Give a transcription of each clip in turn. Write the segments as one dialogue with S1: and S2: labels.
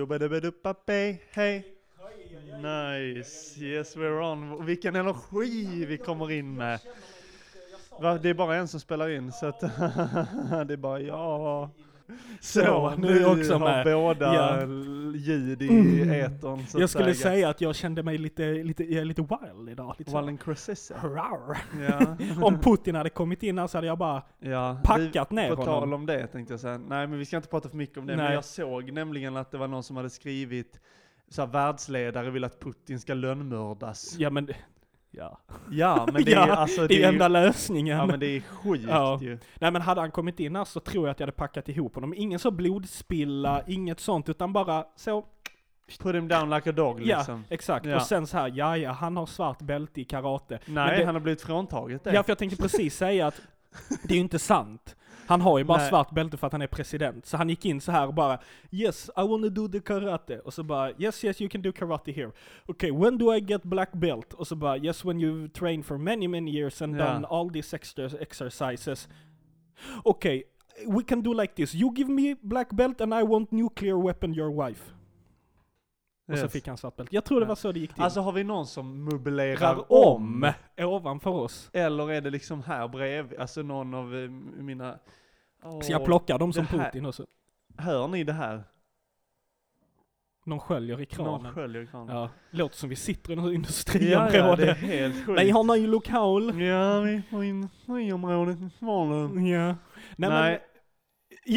S1: Jobbadubbaduppapej, hej! Nice, yes we're on. Vilken energi vi kommer in med. Va, det är bara en som spelar in så att det är bara ja. Så,
S2: Så,
S1: nu
S2: du är också
S1: har
S2: med.
S1: båda
S2: Ja.
S1: ljud i
S2: Mm.
S1: etern så
S2: Jag
S1: att
S2: skulle
S1: säga.
S2: säga att jag kände mig lite, lite, jag är lite wild idag. Lite så här,
S1: Wallen Cressissa.
S2: "Hurrar."
S1: Ja.
S2: Om Putin hade kommit in här så hade jag bara
S1: ja.
S2: packat
S1: vi,
S2: ner
S1: På tal
S2: honom.
S1: om det tänkte jag säga, nej men vi ska inte prata för mycket om det, men
S2: Nej.
S1: jag såg nämligen att det var någon som hade skrivit så här, världsledare vill att Putin ska lönnmördas.
S2: Ja men, ja.
S1: Ja, men det är
S2: Ja,
S1: alltså,
S2: Det är
S1: ju-
S2: enda lösningen.
S1: Ja men det är sjukt
S2: Ja.
S1: ju.
S2: Nej men hade han kommit in här så tror jag att jag hade packat ihop honom. Ingen så blodspilla, inget sånt, utan bara så,
S1: Put him down like a dog liksom.
S2: ja, exakt.
S1: Ja.
S2: Och sen så här, ja ja, han har svart bälte i karate.
S1: Nej,
S2: Men det-
S1: han har blivit fråntaget det.
S2: Ja för jag tänkte precis säga att det är ju inte sant. Han har ju bara
S1: Nej.
S2: svart bälte för att han är president. Så han gick in så här och bara Yes, I wanna do the karate. Och så bara Yes, yes you can do karate here. Okay, when do I get black belt? Och så bara Yes, when you've trained for many many years and
S1: Ja.
S2: done all these extra exercises. Okay, we can do like this. You give me black belt and I want nuclear weapon your wife. Och så
S1: Yes.
S2: fick han svart bälte. Jag tror det
S1: Ja.
S2: var så det gick till.
S1: Alltså har vi någon som
S2: Rar
S1: möblerar om?
S2: om ovanför oss.
S1: Eller är det liksom här bredvid? Alltså någon av eh, mina...
S2: Så jag
S1: Åh,
S2: plockar dem som
S1: det här-
S2: Putin och så.
S1: Hör ni det här?
S2: Någon sköljer i kranen.
S1: Någon sköljer i kranen.
S2: Ja, låter som vi sitter i något
S1: ja, ja, det är
S2: industriområde.
S1: helt sjukt.
S2: Nej, har någon ju lokal.
S1: Ja, vi får in nyområdet i Svalöv.
S2: Ja.
S1: Mm. Nej.
S2: Nej, men,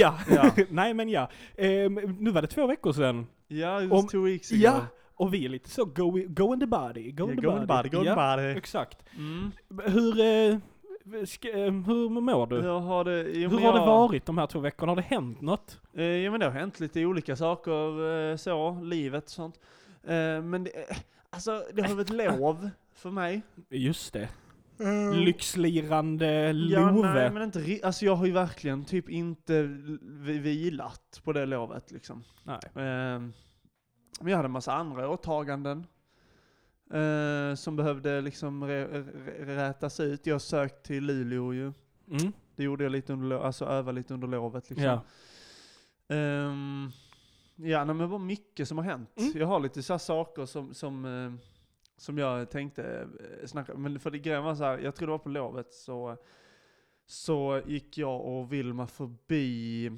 S2: ja.
S1: Ja.
S2: Nej men ja. Ehm, nu var det två veckor sedan.
S1: Ja, it
S2: Om-
S1: was two weeks ago.
S2: Ja, och vi är lite så go, go in the body, go
S1: Ja,
S2: in the
S1: go in the
S2: body.
S1: body, go in
S2: ja,
S1: the body.
S2: exakt.
S1: Mm.
S2: Hur, eh, sk- eh, hur mår du?
S1: Hur har det... Jo,
S2: hur
S1: men
S2: har det
S1: jag-
S2: varit de här två veckorna? Har det hänt något?
S1: Eh, ja men det har hänt lite olika saker, eh, så, livet och sånt. Eh, men det, eh, alltså det har varit lov för mig.
S2: Just det. Lyxlirande
S1: Ehm. Ja,
S2: Love.
S1: nej, men inte ri- alltså jag har ju verkligen typ inte l- vi- vilat på det lovet liksom.
S2: nej.
S1: Eh, men jag hade en massa andra åtaganden. Eh, som behövde liksom re- re- rätas ut. Jag sökte till Luleå ju.
S2: Mm.
S1: Det gjorde jag lite under lo- alltså öva lite under lovet liksom.
S2: Ja.
S1: Ehm, ja, nej, men det var mycket som har hänt.
S2: Mm.
S1: Jag har lite så här saker som, som, eh, som jag tänkte eh, snacka Men för det grejen var så här, jag tror det var på lovet så, så gick jag och Vilma förbi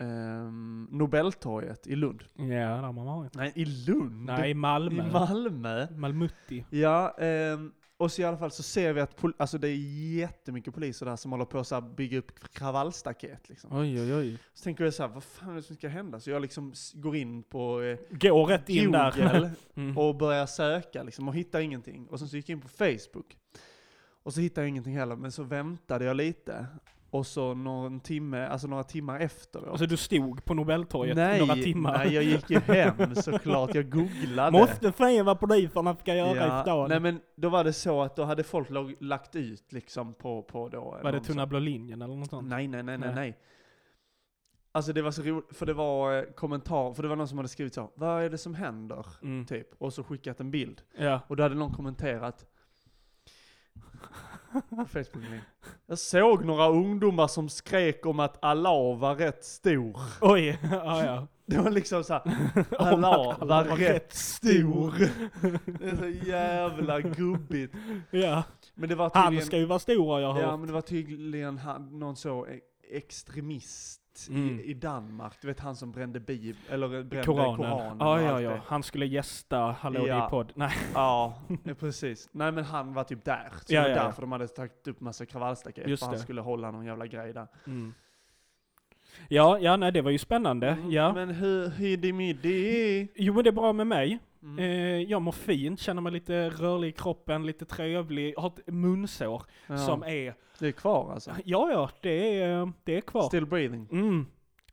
S1: ehm, Nobeltorget i Lund.
S2: ja, där har man varit.
S1: Nej, i Lund?
S2: Nej, Malmö.
S1: I Malmö?
S2: Malmutti.
S1: Ja, ehm, och så i alla fall så ser vi att pol- alltså det är jättemycket poliser där som håller på att bygga upp kravallstaket. Liksom.
S2: Oj, oj, oj.
S1: Så tänker jag så här, vad fan är det som ska hända? Så jag liksom s- går in på eh,
S2: Går rätt in där.
S1: Google
S2: Mm.
S1: och börjar söka liksom, och hittar ingenting. Och sen så gick jag in på Facebook. Och så hittade jag ingenting heller, men så väntade jag lite. Och så någon timme, alltså några timmar efteråt.
S2: Alltså du stod på Nobeltorget
S1: nej,
S2: några timmar.
S1: nej, jag gick ju hem såklart. Jag googlade.
S2: Måste fejva poliserna ska göra i
S1: Ja,
S2: stan.
S1: nej men då var det så att då hade folk lag, lagt ut liksom på, på då.
S2: Var det
S1: någon
S2: tunna blå linjen eller något
S1: sån-
S2: sånt?
S1: Nej, nej, nej, nej,
S2: Nej.
S1: nej. Alltså det var så roligt, för det var eh, kommentar, för det var någon som hade skrivit så, vad är det som händer?
S2: Mm.
S1: Typ, och så skickat en bild.
S2: Ja.
S1: Och då hade någon kommenterat på Facebook Jag såg några ungdomar som skrek om att Allah var rätt stor.
S2: Oj, ja ja.
S1: Det var liksom såhär,
S2: Om att
S1: Allah
S2: alla
S1: var rätt stor. Det är så jävla gubbigt.
S2: Ja.
S1: Men det var
S2: Han ska
S1: tydligen,
S2: ju vara stor har jag
S1: ja,
S2: hört.
S1: men det var tydligen han, någon så e- extremist
S2: Mm.
S1: i, i Danmark. Du vet han som brände bib, eller brände Koranen.
S2: Koranen.
S1: och
S2: ja, ja,
S1: allt
S2: ja.
S1: det.
S2: Han skulle gästa Hallå
S1: Ja.
S2: din podd. Nej.
S1: Ja, eh, precis. Nej men han var typ där. Så
S2: Ja,
S1: det var
S2: ja, ja.
S1: därför de hade tagit upp massa kravallstaket.
S2: Just
S1: för han
S2: det.
S1: skulle hålla någon jävla grej där.
S2: Ja, ja, nej det var ju spännande. Ja.
S1: Mm. Men hur, hur det med det?
S2: Jo men det är bra med mig.
S1: Mm.
S2: Eh, jag mår fint, känner mig lite rörlig i kroppen, lite trevlig, har ett munsår
S1: Ja,
S2: som är...
S1: det är kvar alltså.
S2: Ja, ja, det är, det är kvar.
S1: Still breathing.
S2: Mm.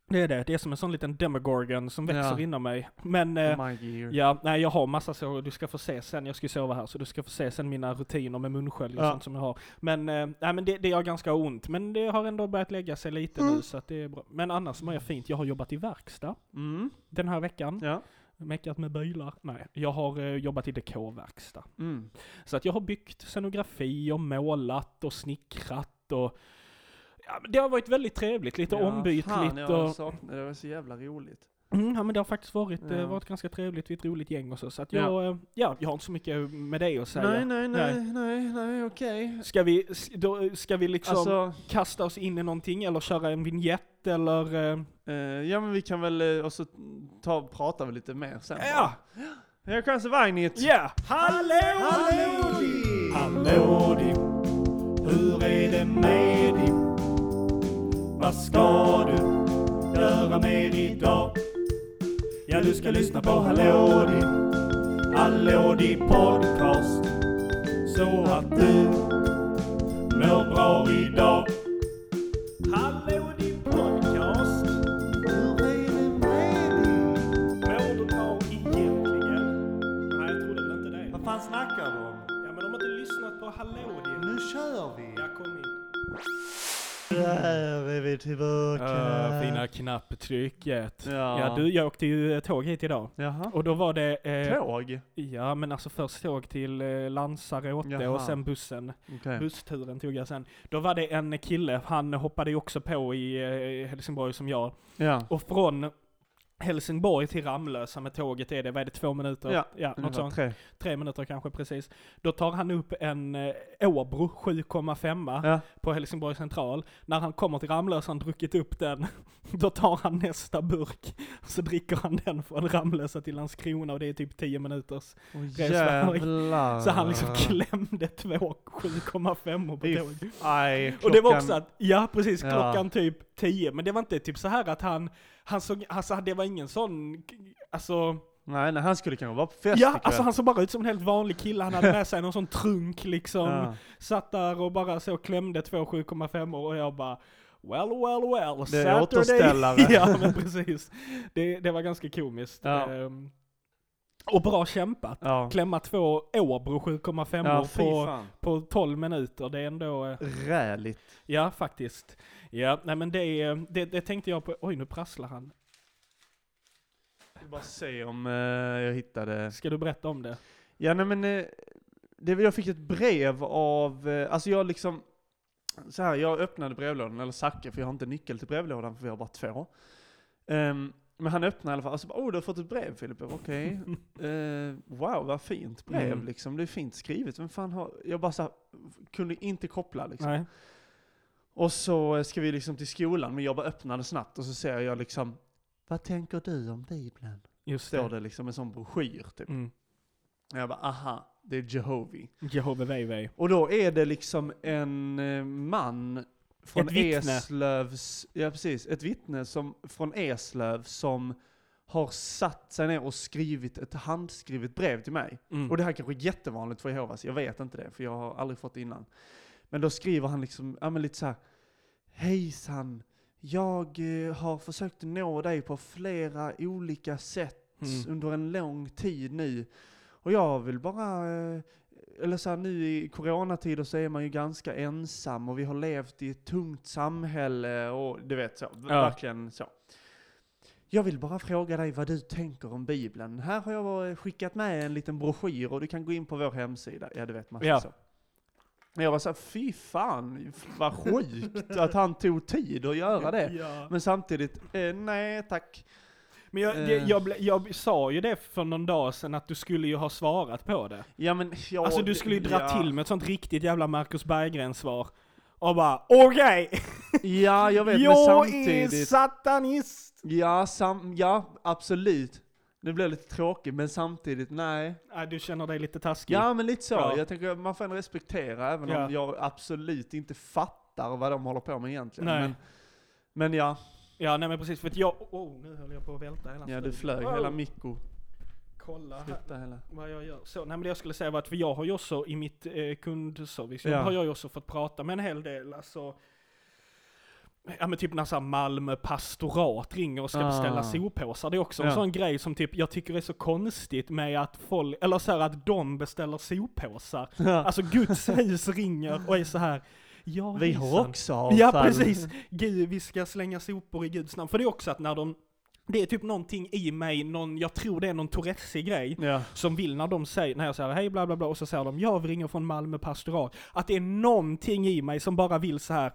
S2: Det är det. Det är som en sån liten demogorgon som växer
S1: Ja.
S2: inom mig. Men eh,
S1: My gear.
S2: ja, nej jag har massa så, du ska få se sen, jag ska ju sova här, så du ska få se sen mina rutiner med munskölj och
S1: Ja.
S2: sånt som jag har. Men, eh, nej men det, det gör ganska ont, men det har ändå börjat lägga sig lite nu så att det är bra. Men annars mår jag fint, jag har jobbat i verkstad
S1: Mm.
S2: den här veckan.
S1: Ja.
S2: Meckat med bilar. Nej, jag har eh, jobbat i dekårverkstad.
S1: Mm.
S2: Så att jag har byggt scenografi och målat och snickrat och ja, men det har varit väldigt trevligt, lite ombytligt
S1: fan,
S2: och...
S1: jag saknar, det var så jävla roligt.
S2: Mm, ja men det har faktiskt varit, eh,
S1: Ja.
S2: varit ganska trevligt, vi är ett roligt gäng och så. Så att
S1: Ja.
S2: jag, eh, ja, jag har inte så mycket med det att säga.
S1: Nej, nej, nej,
S2: Nej.
S1: nej, nej, okej.
S2: Ska vi, s- då, eh, ska vi liksom
S1: Alltså,
S2: kasta oss in i någonting eller köra en vignett eller? eh,
S1: eh, ja men vi kan väl, eh, och så ta, prata vi lite mer sen.
S2: Ja!
S1: Jag kanske Vainit.
S2: Ja! Hallå!
S3: Hallå Dipp, hur är det med Dipp? Vad ska du göra mer idag? Ja, du ska lyssna på Hallå Dipp, Hallå Dipp podcast. Så att du mår bra idag. Hallå Dipp podcast. Hur är det med Dipp? Mår du bra egentligen?
S2: Nej jag trodde väl inte det.
S3: Vad fan snackar du om?
S2: Ja men de har inte lyssnat på Hallå din.
S3: Nu kör vi!
S2: Jag kom in.
S3: Där är vi tillbaka.
S2: Eh, fina knapptrycket.
S1: Ja.
S2: Ja du, jag åkte ju eh, tåg hit idag.
S1: Jaha.
S2: Och då var det... Eh,
S1: Tåg?
S2: Ja, men alltså först tåg till eh, Lanzarote
S1: Jaha.
S2: och sen bussen.
S1: Okej.
S2: Bussturen tog jag sen. Då var det en kille, han hoppade ju också på i eh, Helsingborg som jag.
S1: Ja.
S2: Och från Helsingborg till Ramlösa med tåget är det, vad är det, två minuter?
S1: Ja,
S2: något
S1: Ungefär
S2: sånt.
S1: tre.
S2: Tre minuter kanske precis. Då tar han upp en eh, Åbro 7,5
S1: Ja.
S2: på Helsingborg central. När han kommer till Ramlösa har han druckit upp den. Då tar han nästa burk. Så dricker han den från Ramlösa till Landskrona och det är typ 10 minuters
S1: Åh,
S2: Resväg.
S1: jävlar.
S2: så han liksom klämde två 7,5 på
S1: Fy
S2: tåg.
S1: Aj,
S2: Och det var
S1: klockan-
S2: också att, ja precis,
S1: Ja.
S2: klockan typ 10. Men det var inte typ så här att han, han såg, alltså det var ingen sån, alltså,
S1: Nej, nej, han skulle kanske vara på fest
S2: ja
S1: ikväll.
S2: alltså han såg bara ut som en helt vanlig kille. Han hade med sig någon sån trunk liksom.
S1: Ja.
S2: Satt där och bara så klämde två 7,5 och jag bara, well well well,
S1: Det är återställare.
S2: ja men precis. Det, det var ganska komiskt.
S1: Ja.
S2: Ehm, och bra kämpat.
S1: Ja.
S2: Klämma två Åbro 7,5
S1: Ja, fy
S2: på,
S1: fan.
S2: på 12 minuter, det är ändå, eh,
S1: Räligt.
S2: ja faktiskt. Ja, nej men det, eh, det, det tänkte jag på, oj nu prasslar han.
S1: Jag bara se om eh, jag hittade...
S2: Ska du berätta om det?
S1: Ja, nej men... eh, det, jag fick ett brev av... eh, alltså jag liksom... Så här, jag öppnade brevlådan, eller Zacke, för jag har inte nyckel till brevlådan, för vi har bara två. Ehm, men han öppnade i alla fall, och så bara, oh du har fått ett brev Filip, Jag bara, okej. Eh, wow, vad fint brev
S2: Mm.
S1: liksom. Det är fint skrivet. Vem fan har... Jag bara så här, kunde inte koppla liksom.
S2: Nej.
S1: Och så eh, ska vi liksom till skolan, men jag bara öppnade snabbt och så ser jag liksom Vad tänker du om Bibeln?
S2: Just
S1: Står
S2: det.
S1: det liksom en sån broschyr typ.
S2: Mm.
S1: Och jag bara aha, det är Jehovi.
S2: Jehova Weiwei.
S1: Och då är det liksom en eh, man från
S2: Ett vittne.
S1: Eslövs, ja precis, ett vittne som, från Eslöv som har satt sig ner och skrivit ett handskrivet brev till mig.
S2: Mm.
S1: Och det här kanske är jättevanligt för Jehovas, jag vet inte det, för jag har aldrig fått det innan. Men då skriver han liksom, ja men lite så här, hejsan, jag eh, har försökt nå dig på flera olika sätt
S2: Mm.
S1: under en lång tid nu. Och jag vill bara, eh, eller så här, nu i coronatider så är man ju ganska ensam och vi har levt i ett tungt samhälle och du vet så, v-
S2: Ja.
S1: verkligen så. Jag vill bara fråga dig vad du tänker om Bibeln. Här har jag bara skickat med en liten broschyr och du kan gå in på vår hemsida. Ja, du vet massa
S2: Ja.
S1: så. Men jag var såhär, fy fan vad sjukt att han tog tid att göra det.
S2: Ja.
S1: Men samtidigt, eh, nej tack.
S2: Men jag, det,
S1: Eh.
S2: jag, ble, jag sa ju det för någon dag sedan att du skulle ju ha svarat på det.
S1: Ja men ja,
S2: alltså du skulle ju dra
S1: ja.
S2: till med ett sånt riktigt jävla Marcus Berggren-svar. Och bara okej,
S1: Ja, jag vet, men
S2: jag är
S1: samtidigt.
S2: satanist!
S1: Ja, sam ja, absolut. Det blev lite tråkigt, men samtidigt, nej.
S2: Nej, du känner dig lite taskig.
S1: Ja, men lite så.
S2: Typ. Ja.
S1: Jag tänker, man får ändå respektera, även
S2: Ja.
S1: om jag absolut inte fattar vad de håller på med egentligen.
S2: Nej.
S1: Men, men ja,
S2: Ja, nej men precis, för att jag... Oh, nu höll jag på att välta hela
S1: ja, du
S2: studion.
S1: flög
S2: Wow.
S1: hela Mikko.
S2: Kolla här
S1: Flytta hela.
S2: vad jag gör. Så, nej men det jag skulle säga var att för jag har ju också i mitt eh, kundservice,
S1: Ja.
S2: har jag ju också fått prata med en hel del, alltså Ja men typ när så här Malmö pastorat ringer och ska
S1: Ah.
S2: beställa soppåsar, det är också en
S1: Ja.
S2: sån grej som typ jag tycker är så konstigt med att folk, eller så här att de beställer soppåsar.
S1: Ah.
S2: Alltså Guds hus ringer och är så här ja
S1: Vi har
S2: hejsan."
S1: också avfall.
S2: Ja precis! Gud, vi ska slänga sopor i Guds namn. För det är också att när de, det är typ någonting i mig, någon, jag tror det är någon Tourettesig grej,
S1: Ja.
S2: som vill när de säger, när jag säger hej bla bla bla, och så säger de jag ringer från Malmö pastorat, att det är någonting i mig som bara vill så här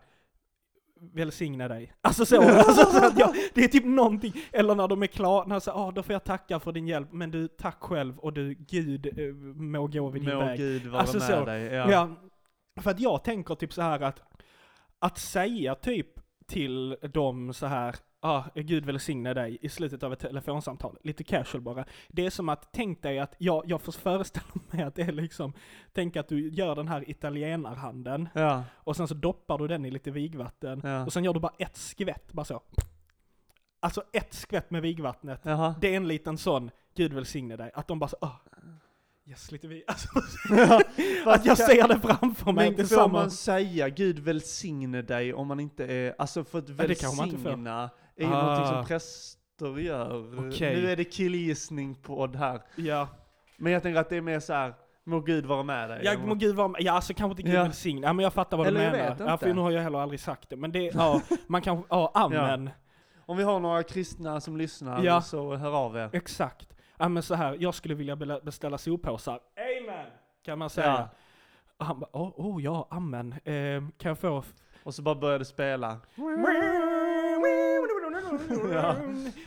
S2: välsigna dig. Alltså så, alltså, så att jag, det är typ någonting, eller när de är klara, när jag säger ah, då får jag tacka för din hjälp, men du, tack själv och du, Gud eh, må gå vid din
S1: Må
S2: väg.
S1: Gud vara
S2: Alltså
S1: med
S2: så.
S1: dig.
S2: Ja.
S1: Ja.
S2: För att jag tänker typ så här att, att säga typ till dem så här, ah, Gud välsigne dig i slutet av ett telefonsamtal, lite casual bara. Det är som att, tänk dig att, jag, jag får föreställa mig att det är liksom, tänk att du gör den här italienarhanden
S1: Ja.
S2: och sen så doppar du den i lite vigvatten
S1: Ja.
S2: och sen gör du bara ett skvätt, bara så. Alltså ett skvätt med vigvattnet.
S1: Jaha.
S2: Det är en liten sån, Gud välsigne dig, att de bara så, ah, yes lite vig, alltså, att
S1: Fast
S2: jag
S1: kan-
S2: ser det framför mig
S1: Men
S2: inte
S1: får
S2: samma.
S1: man säga Gud välsigne dig om man inte är, alltså för att
S2: Ja, det kanske man inte får.
S1: välsigna är ju
S2: Ah.
S1: någonting som präster gör.
S2: Okej.
S1: Nu är det killgissning på det här.
S2: Ja.
S1: Men jag tänker att det är mer så här, må Gud vara med dig.
S2: Jag, må Gud vara med. Ja, alltså kanske inte Gud
S1: Ja.
S2: välsigne. Ja, men jag fattar vad
S1: Eller
S2: du
S1: jag
S2: menar.
S1: vet
S2: Ja, för
S1: inte.
S2: nu har jag heller aldrig sagt det. Men det, ja, man kan, ja, amen.
S1: Om vi har några kristna som lyssnar
S2: Ja.
S1: så hör av er.
S2: Exakt. Ja, men så här, jag skulle vilja bela- beställa soppåsar. Amen! Kan man säga. Och han bara, åh, oh, ja, amen. Eh, kan jag få...
S1: Och så bara börjar det spela. Ja.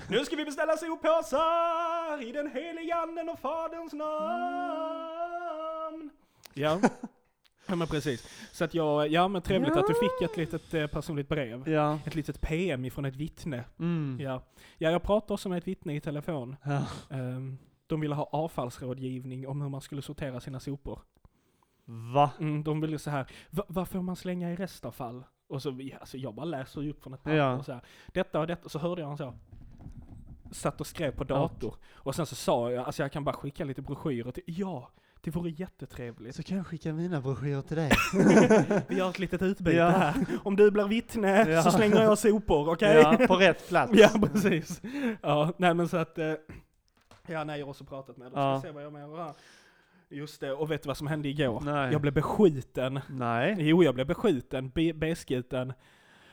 S2: Nu ska vi beställa soppåsar i den heliga anden och faderns namn. Ja. ja, men precis. Så att jag, ja men trevligt att du fick ett litet eh, personligt brev.
S1: Ja.
S2: Ett litet PM ifrån ett vittne.
S1: Mm.
S2: Ja. ja, jag pratar också med ett vittne i telefon.
S1: Ja.
S2: Ehm, de ville ha avfallsrådgivning om hur man skulle sortera sina sopor.
S1: Va?
S2: Mm, de ville så här, "Va- vad får man slänga i restavfall? Och så, ja, alltså jag bara läser ju upp från ett papper
S1: Ja.
S2: och så här, detta och detta, och så hörde jag han så. Satt och skrev på dator. Och sen så sa jag, alltså jag kan bara skicka lite broschyrer till, ja, det vore jättetrevligt.
S1: Så kan jag skicka mina broschyrer till dig.
S2: Vi gör ett litet utbyte
S1: Ja.
S2: här. Om du blir vittne
S1: Ja.
S2: så slänger jag sopor, okej?
S1: Ja, på rätt plats.
S2: Ja, precis. Ja, nej men så att... eh, Ja, nej, jag har också pratat med dem.
S1: Ja.
S2: Ska se vad jag menar här. Just det, och vet du vad som hände igår?
S1: Nej.
S2: Jag blev beskjuten.
S1: Nej.
S2: Jo, jag blev beskjuten, be- beskjuten.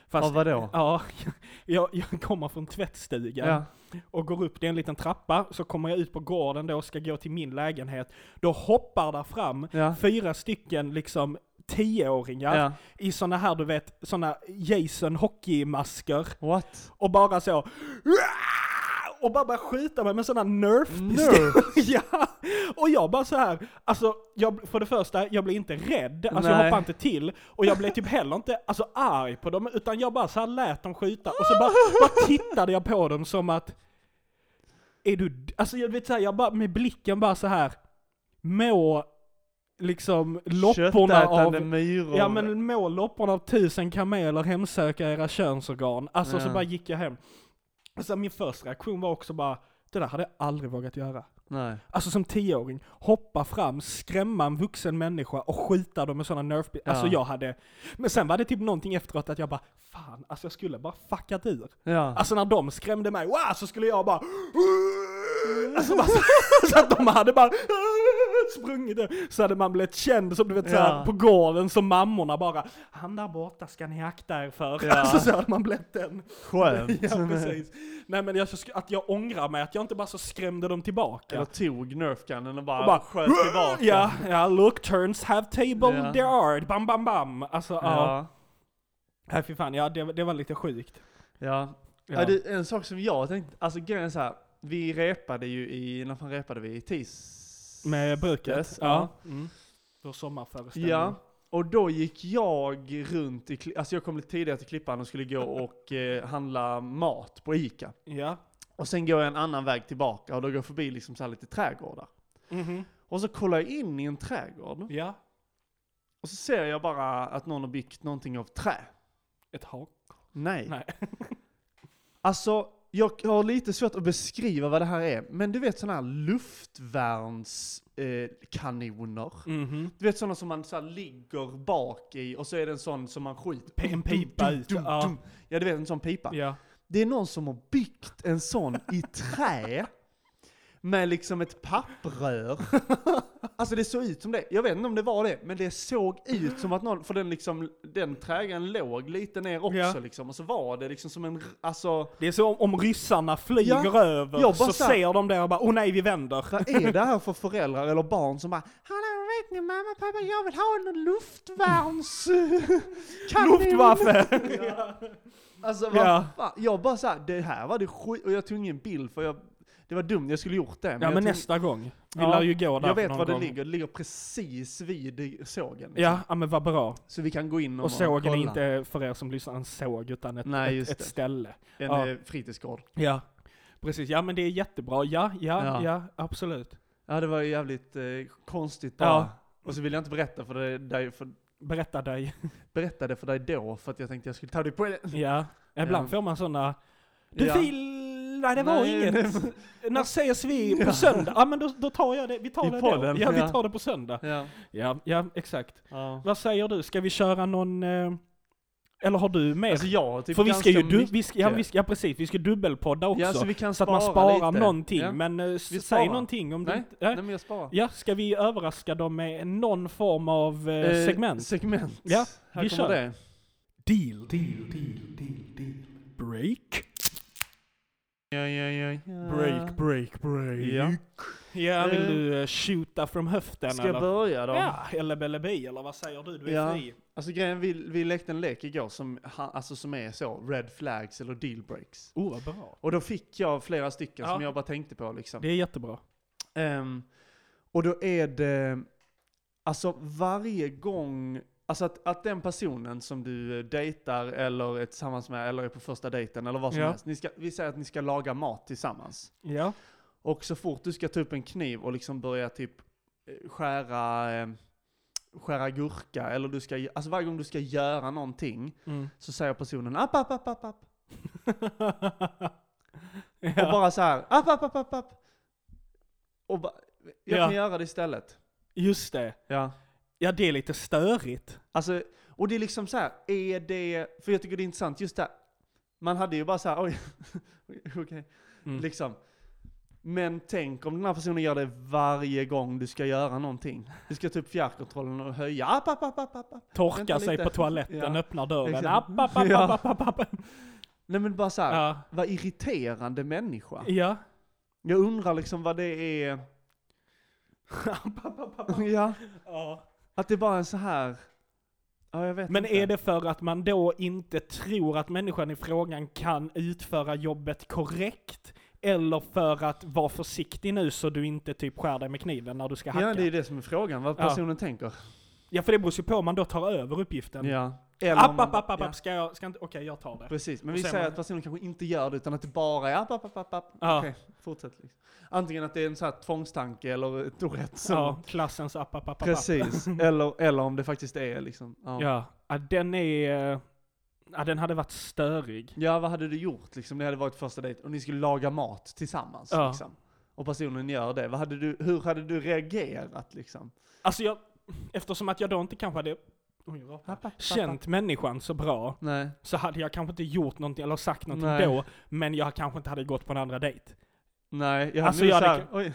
S2: Fast,
S1: Av vadå?
S2: ja, jag, jag kommer från tvättstugan
S1: Ja.
S2: och går upp, det är en liten trappa, så kommer jag ut på gården då och ska gå till min lägenhet. Då hoppar där fram
S1: Ja.
S2: fyra stycken liksom tioåringar
S1: ja.
S2: i såna här, du vet, såna Jason hockeymasker
S1: What?
S2: och bara så och bara började skjuta mig med sådana nerf
S1: Nerf?
S2: Ja! Och jag bara så här, alltså jag, för det första, jag blev inte rädd, alltså jag
S1: Nej.
S2: hoppade inte till, och jag blev typ heller inte alltså, arg på dem, utan jag bara så här lät dem skjuta, och så bara, bara tittade jag på dem som att, är du, d-" alltså jag vet så här, jag bara med blicken bara så här, må liksom lopporna
S1: Köttätande
S2: av
S1: myror.
S2: Ja men må lopporna av tusen kameler hemsöka era könsorgan. Alltså så
S1: Ja.
S2: bara gick jag hem. Alltså min första reaktion var också bara, det där hade jag aldrig vågat göra.
S1: Nej.
S2: Alltså som tioåring, hoppa fram, skrämma en vuxen människa och skjuta dem med sådana nerf Alltså
S1: Ja.
S2: jag hade, men sen var det typ någonting efteråt att jag bara, fan, alltså jag skulle bara fuckat ur.
S1: Ja.
S2: Alltså när de skrämde mig, wow, så skulle jag bara Alltså bara så, så att de hade bara sprungit där. Så hade man blivit känd som du vet så här,
S1: Ja.
S2: på gården som mammorna bara Han där borta ska ni akta er för.
S1: Ja.
S2: Alltså så hade man blivit den.
S1: Skönt.
S2: Ja precis. Nej men jag, att jag ångrar mig att jag inte bara så skrämde dem tillbaka.
S1: Eller tog nerfgunnen och bara,
S2: Och bara,
S1: sköt tillbaka.
S2: Ja, ja, look turns have table
S1: Ja.
S2: there are, bam bam bam. Alltså ja.
S1: Ja.
S2: Nej fy fan, ja det, det var lite sjukt.
S1: ja.
S2: Ja.
S1: ja. det, en sak som jag tänkte, alltså grejen är så här. Vi repade ju i, när fan repade vi? I tis...
S2: Med bruket?
S1: Yes,
S2: ja. Mm. Vår sommarföreställning.
S1: Ja. Och då gick jag runt i, Kli- alltså jag kom lite tidigare till Klippan och skulle gå och eh, handla mat på Ica.
S2: Ja.
S1: Och sen går jag en annan väg tillbaka och då går jag förbi liksom så här lite trädgårdar.
S2: Mhm.
S1: Och så kollar jag in i en trädgård
S2: Ja.
S1: och så ser jag bara att någon har byggt någonting av trä.
S2: Ett hak.
S1: Nej.
S2: Nej.
S1: Alltså, jag har lite svårt att beskriva vad det här är, men du vet sådana här luftvärnskanoner. Eh, kanoner. du vet sådana som man så här ligger bak i och så är det en sån som man skjuter.
S2: P- en pipa ut, ja.
S1: Ja, du vet en sån pipa.
S2: Ja.
S1: Det är någon som har byggt en sån i trä. Med liksom ett papprör. Alltså det såg ut som det. Jag vet inte om det var det, men det såg ut som att någon, för den liksom, den trägen låg lite ner också
S2: Ja.
S1: liksom. Och så var det liksom som en, r- alltså,
S2: Det är så om, om ryssarna flyger
S1: Ja.
S2: över
S1: Jag bara
S2: så
S1: så här-
S2: ser de det och bara åh nej vi vänder.
S1: vad är det här för föräldrar eller barn som bara Hallå vet ni mamma, pappa, jag vill ha en luftvärns... kanon."
S2: Luftwaffe!
S1: Alltså vad
S2: Ja.
S1: fan? Jag bara såhär, det här var det skit, och jag tog ingen bild för jag, det var dumt, jag skulle gjort det.
S2: Ja
S1: jag
S2: men
S1: tog-
S2: nästa gång. Vi
S1: Ja,
S2: lär ju gå där
S1: Jag vet
S2: någon
S1: var det
S2: gång.
S1: ligger, det ligger precis vid sågen. liksom.
S2: Ja, ja, men vad bra.
S1: Så vi kan gå in och,
S2: Och sågen är
S1: kolla.
S2: inte för er som lyssnar en såg, utan ett,
S1: Nej,
S2: ett,
S1: just
S2: ett
S1: det.
S2: ställe.
S1: En
S2: ja.
S1: eh, fritidsgård.
S2: Ja. Precis, ja men det är jättebra. Ja, ja, ja,
S1: Ja.
S2: absolut.
S1: Ja det var ju jävligt eh, konstigt bara.
S2: Ja.
S1: Och så ville jag inte berätta för dig, dig för,
S2: Berätta dig.
S1: berätta det för dig då, för att jag tänkte jag skulle ta dig på det.
S2: Ja. Ibland
S1: Ja.
S2: får man sådana, du
S1: Ja.
S2: fil... Nej det var
S1: Nej,
S2: inget. När ses vi på söndag? Ja men då, då tar jag det, vi tar
S1: I
S2: det
S1: podden,
S2: då. Ja, vi
S1: ja.
S2: tar det på söndag.
S1: Ja.
S2: Ja, ja exakt.
S1: ja.
S2: Vad säger du, ska vi köra någon, eh, eller har du mer?
S1: Alltså jag har typ
S2: För vi
S1: ganska
S2: ska ju du,
S1: mycket-
S2: vi ska, ja, vi ska, ja precis, vi ska dubbelpodda också.
S1: Ja,
S2: så
S1: så vi kan
S2: att man
S1: spara
S2: sparar
S1: lite.
S2: någonting,
S1: Ja.
S2: men eh, s-
S1: Vi
S2: säg
S1: sparar.
S2: någonting om du
S1: Nej.
S2: inte... Nej.
S1: Nej men jag sparar.
S2: Ja, ska vi överraska dem med någon form av eh,
S1: Eh,
S2: segment?
S1: Segment.
S2: Ja,
S1: Här
S2: vi
S1: kommer
S2: kör.
S1: det.
S2: Deal. Deal, deal, deal, deal. Break.
S1: Ja, ja, ja, ja.
S2: Break, break, break.
S1: Ja.
S2: Ja, vill
S1: Eh,
S2: du eh, shoota från höften
S1: Ska jag
S2: eller?
S1: börja då?
S2: Ja, eller belebi, eller vad säger du? Du är
S1: Ja.
S2: fri.
S1: Alltså grejen, vi, vi lekte en lek igår som, ha- alltså, som är så, red flags eller deal breaks.
S2: Oh, vad bra.
S1: Och då fick jag flera stycken
S2: Ja.
S1: som jag bara tänkte på liksom.
S2: Det är jättebra.
S1: Ehm, och då är det, alltså varje gång, alltså att, att den personen som du eh, dejtar eller är tillsammans med eller är på första dejten eller vad som
S2: Ja.
S1: helst, ni ska, vi säger att ni ska laga mat tillsammans.
S2: Ja.
S1: Och så fort du ska ta upp en kniv och liksom börja typ eh, skära, eh, skära gurka eller du ska, alltså varje gång du ska göra någonting
S2: Mm.
S1: så säger personen app, app, app, app, app. Och
S2: ja.
S1: bara så här, app, app, app, app, app. Och ba, jag
S2: Ja.
S1: kan göra det istället.
S2: Just det.
S1: Ja.
S2: Ja, det är lite störigt.
S1: Alltså, och det är liksom så här, är det, för jag tycker det är intressant just där, man hade ju bara så här, oj, okej,
S2: Mm.
S1: liksom. Men tänk om den här personen gör det varje gång du ska göra någonting. Du ska ta upp fjärrkontrollen och höja, app, app, app, app, app, app.
S2: Torka
S1: Vänta
S2: sig
S1: lite.
S2: på toaletten,
S1: Ja.
S2: öppnar dörren.
S1: Exakt.
S2: App, app, app,
S1: Ja.
S2: app, app, app, app.
S1: Nej men bara så här,
S2: Ja.
S1: vad irriterande människa.
S2: Ja.
S1: Jag undrar liksom vad det är,
S2: App, app, app, app.
S1: ja,
S2: Ja.
S1: att det bara är så här, ja jag vet
S2: Men
S1: inte.
S2: är det för att man då inte tror att människan i frågan kan utföra jobbet korrekt? Eller för att vara försiktig nu så du inte typ skär dig med kniven när du ska hacka?
S1: Ja det är ju det som är frågan, vad
S2: Ja.
S1: personen tänker.
S2: Ja, för det beror ju på om man då tar över uppgiften.
S1: Ja. Eller om
S2: App,
S1: man-
S2: app, app, app,
S1: ja.
S2: app, ska jag, ska inte, okej jag tar det.
S1: Precis, men
S2: Och
S1: vi
S2: sen
S1: säger
S2: man-
S1: att personen kanske inte gör det utan att det bara är "Ah, app, app, app, app, app.
S2: Ja.
S1: Okej, fortsätt. Liksom. Antingen att det är en sån här tvångstanke eller ett rätt som...
S2: Ja, klassens app, app, app, app, app.
S1: Precis, eller, eller om det faktiskt är liksom... Ja. Ja.
S2: Ja, ja den är... eh, Ja, den hade varit störig.
S1: vad hade du gjort liksom? Det hade varit första dejt och ni skulle laga mat tillsammans
S2: Ja.
S1: liksom. Och personen gör det. Vad hade du, hur hade du reagerat liksom?
S2: Alltså jag... Eftersom att jag då inte kanske hade oj, jag rapar.
S1: App, app, app, app.
S2: känt människan så bra,
S1: Nej.
S2: så hade jag kanske inte gjort någonting eller sagt någonting
S1: Nej.
S2: då, men jag kanske inte hade gått på en andra dejt.
S1: Nej, jag hade
S2: Alltså,
S1: nog
S2: jag
S1: så
S2: hade-
S1: här, oj.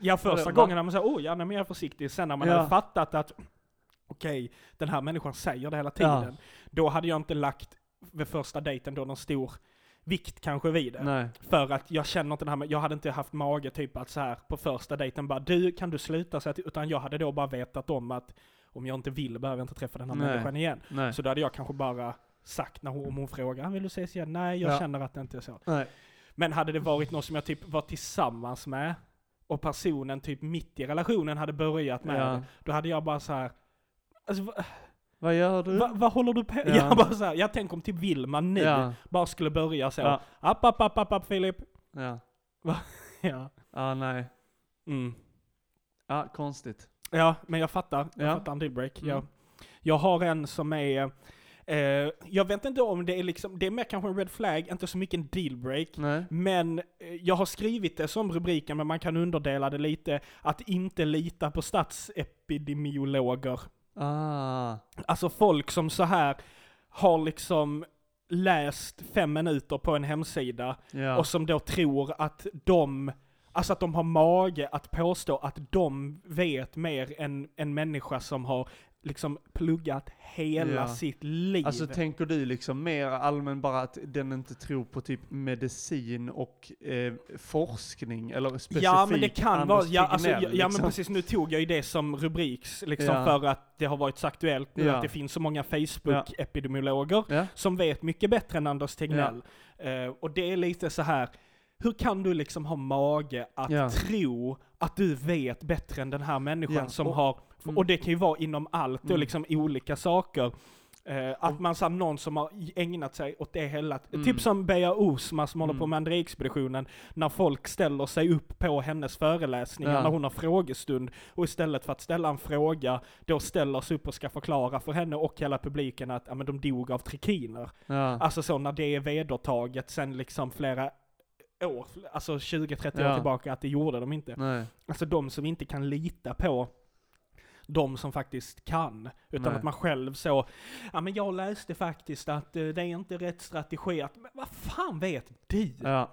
S2: Ja, första
S1: Va?
S2: gången när man säger oh ja, nej, men jag är försiktig, sen när man
S1: Ja.
S2: hade fattat att okej, den här människan säger det hela tiden, då hade jag inte lagt vid första dejten då någon stor vikt kanske vid det.
S1: Nej.
S2: För att jag känner inte den här, men jag hade inte haft mage typ att så här på första dejten bara du, kan du sluta? Så att, utan jag hade då bara vetat om att om jag inte vill behöver jag inte träffa den här
S1: Nej.
S2: människan igen.
S1: Nej.
S2: Så då hade jag kanske bara sagt när hon, om hon frågar, vill du ses igen? Nej, jag
S1: Ja.
S2: känner att det inte är så.
S1: Nej.
S2: Men hade det varit någon som jag typ var tillsammans med och personen typ mitt i relationen hade börjat med
S1: Ja.
S2: det, då hade jag bara så här. Alltså, va,
S1: Vad gör du?
S2: va, vad håller du på
S1: Mm. Ja.
S2: Jag bara så här, jag tänker om typ Vilma nu
S1: Ja.
S2: bara skulle börja så.
S1: Ja.
S2: App, app, app, app, app, Filip.
S1: Ja.
S2: Ja.
S1: Ja, nej.
S2: Mm.
S1: Ja, konstigt.
S2: ja, men jag fattar. Jag
S1: Ja.
S2: fattar en dealbreak.
S1: Mm.
S2: Jag, jag har en som är, eh, jag vet inte om det är liksom, det är mer kanske en red flag, inte så mycket en dealbreak.
S1: Nej.
S2: Men eh, jag har skrivit det som rubriken, men man kan underdela det lite. Att inte lita på statsepidemiologer.
S1: Ah.
S2: Alltså folk som så här har liksom läst fem minuter på en hemsida
S1: Ja.
S2: och som då tror att de, alltså att de har mage att påstå att de vet mer än en människa som har liksom pluggat hela
S1: Ja.
S2: sitt liv.
S1: Alltså tänker du liksom mer allmän bara att den inte tror på typ medicin och eh, forskning eller specifikt
S2: Ja men det kan
S1: Anders
S2: vara, ja, alltså, ja,
S1: Tegnell,
S2: ja men
S1: liksom.
S2: precis nu tog jag ju det som rubriks liksom
S1: Ja.
S2: för att det har varit så aktuellt nu
S1: Ja.
S2: att det finns så många Facebook-epidemiologer
S1: Ja.
S2: som vet mycket bättre än Anders Tegnell. Eh, och det är lite så här hur kan du liksom ha mage att
S1: Ja.
S2: tro att du vet bättre än den här människan
S1: Ja,
S2: som
S1: och-
S2: har,
S1: mm.
S2: och det kan ju vara inom allt och
S1: Mm.
S2: liksom olika saker. Eh, att man så här, någon som har ägnat sig åt det hela,
S1: Mm.
S2: typ som Bea Osma som håller
S1: Mm.
S2: på med André-expeditionen, när folk ställer sig upp på hennes föreläsningar
S1: Ja.
S2: när hon har frågestund och istället för att ställa en fråga då ställer sig upp och ska förklara för henne och hela publiken att ja, men de dog av trikiner.
S1: Ja.
S2: Alltså så när det är vedertaget sen liksom flera år, alltså 20-30 år
S1: Ja.
S2: tillbaka att det gjorde de inte.
S1: Nej.
S2: Alltså de som inte kan lita på de som faktiskt kan. Utan
S1: Nej.
S2: att man själv så, ja men jag läste faktiskt att eh, det är inte rätt strategi att, men vad fan vet du?
S1: Ja.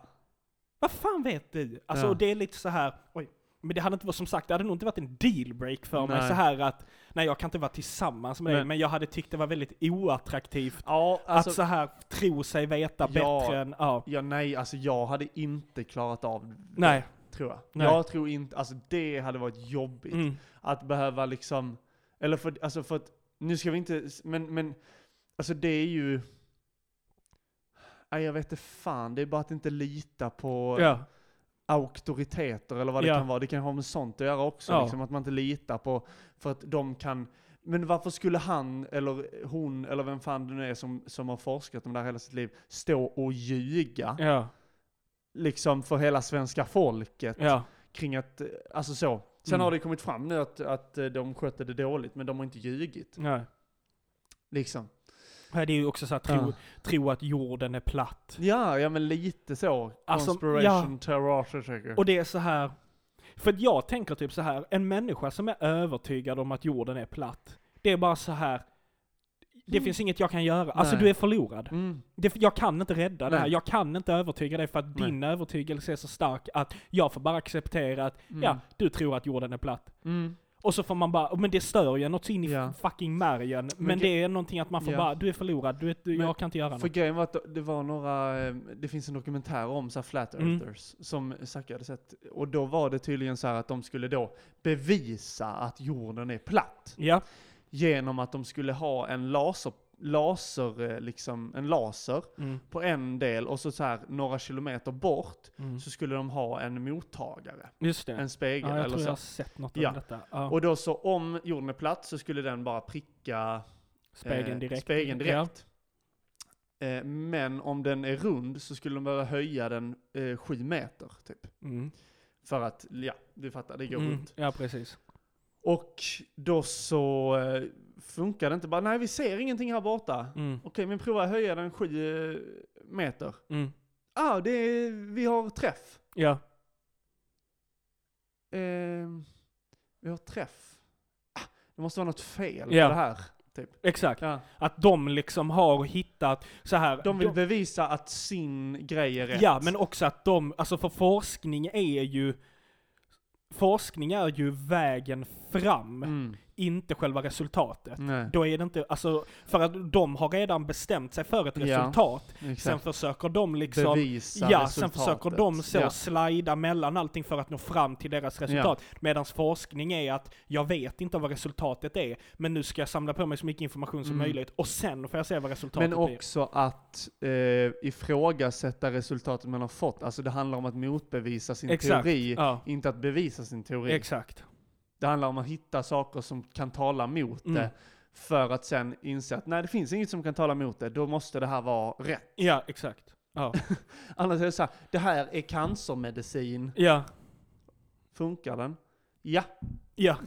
S2: Vad fan vet du? Alltså
S1: Ja.
S2: och det är lite så här, oj. Men det hade inte varit, som sagt, det hade nog inte varit en dealbreak för mig
S1: Nej.
S2: så här att, nej jag kan inte vara tillsammans med dig,
S1: Men-
S2: men jag hade tyckt det var väldigt oattraktivt
S1: Ja, alltså,
S2: att så här tro sig veta
S1: Ja.
S2: bättre än, ja.
S1: ja, nej, alltså jag hade inte klarat av det,
S2: Nej.
S1: tror jag.
S2: Nej.
S1: Jag tror inte, alltså det hade varit jobbigt.
S2: Mm.
S1: Att behöva liksom, eller för, alltså för att, nu ska vi inte, men, men, alltså det är ju, nej jag vet inte fan, det är bara att inte lita på
S2: Ja.
S1: auktoriteter eller vad det
S2: Ja.
S1: kan vara. Det kan ha med sånt att göra också,
S2: Ja.
S1: liksom, att man inte litar på, för att de kan, men varför skulle han eller hon eller vem fan det nu är som, som har forskat om det här hela sitt liv stå och ljuga
S2: Ja.
S1: liksom för hela svenska folket?
S2: Ja.
S1: kring att, eh, alltså så. Sen
S2: Mm.
S1: har det kommit fram nu att, att eh, de skötte det dåligt, men de har inte ljugit.
S2: Nej.
S1: Liksom.
S2: Ja, Det är ju också så här, tro,
S1: Ja.
S2: tro att jorden är platt.
S1: Ja, ja men lite så.
S2: Alltså,
S1: Conspiration, terror, säker.
S2: Och det är så här. För att jag tänker typ så här. en människa som är övertygad om att jorden är platt, det är bara så här. Det
S1: Mm.
S2: finns inget jag kan göra. Alltså
S1: Nej.
S2: du är förlorad.
S1: Mm.
S2: Det, jag kan inte rädda det här.
S1: Nej.
S2: Jag kan inte övertyga dig för att
S1: Nej.
S2: din övertygelse är så stark att jag får bara acceptera att,
S1: Mm.
S2: ja, du tror att jorden är platt.
S1: Mm.
S2: Och så får man bara, men det stör ju något så in i
S1: Ja.
S2: fucking märgen. Men,
S1: Men
S2: det är någonting att man får
S1: Ja.
S2: bara, du är förlorad, du, är- du,
S1: Men
S2: jag kan inte göra
S1: För
S2: något.
S1: grejen var att det var några, eh, det finns en dokumentär om så här flat
S2: Mm.
S1: earthers som Zacke hade sett. Och då var det tydligen så här att de skulle då bevisa att jorden är platt.
S2: Ja,
S1: Genom att de skulle ha en laser, laser eh, liksom, en laser
S2: mm.
S1: på en del och så, så här några kilometer bort
S2: Mm.
S1: så skulle de ha en mottagare,
S2: just det.
S1: en spegel
S2: Ja, jag
S1: eller
S2: tror jag
S1: så.
S2: har sett något om
S1: Ja.
S2: detta. Ja.
S1: Och eh, då så om jorden är platt så skulle den bara pricka
S2: Spegeln
S1: eh,
S2: direkt.
S1: spegeln
S2: Ja.
S1: direkt. Eh, men om den är rund så skulle de behöva höja den eh, sju meter typ.
S2: Mm.
S1: För att, ja, du fattar, det går
S2: Mm.
S1: runt.
S2: Ja, precis.
S1: Och då så eh, funkar det inte bara, nej vi ser ingenting här borta.
S2: Mm.
S1: Okej, men prova att höja den sju eh, meter.
S2: Mm.
S1: Ah, det är, vi har träff.
S2: Ja.
S1: Ehm, vi har träff. Ah, det måste vara något fel
S2: Ja.
S1: på det här. Typ.
S2: Exakt. Att de liksom har hittat så här.
S1: De vill bevisa att sin grej är rätt.
S2: Ja, men också att de, alltså för forskning är ju Forskning är ju vägen fram,
S1: Mm.
S2: inte själva resultatet.
S1: Nej,
S2: Då är det inte, alltså, för att de har redan bestämt sig för ett
S1: Ja,
S2: resultat. Sen
S1: exakt.
S2: försöker de liksom
S1: bevisa
S2: Ja, sen
S1: resultatet.
S2: försöker de så
S1: Ja.
S2: slida mellan allting för att nå fram till deras resultat. Medan forskning är att jag vet inte vad resultatet är, men nu ska jag samla på mig så mycket information som
S1: Mm.
S2: möjligt och sen får jag se vad resultatet
S1: Men
S2: blir.
S1: också att eh, ifrågasätta resultatet man har fått. Alltså det handlar om att motbevisa sin
S2: Exakt.
S1: teori,
S2: Ja,
S1: inte att bevisa sin teori.
S2: exakt.
S1: det handlar om att hitta saker som kan tala mot
S2: Mm.
S1: det, för att sen inse att nej, det finns inget som kan tala mot det, då måste det här vara rätt.
S2: Ja, exakt. Ja.
S1: Annars är det så här, det här är cancermedicin.
S2: ja,
S1: Funkar den? Ja,
S2: ja.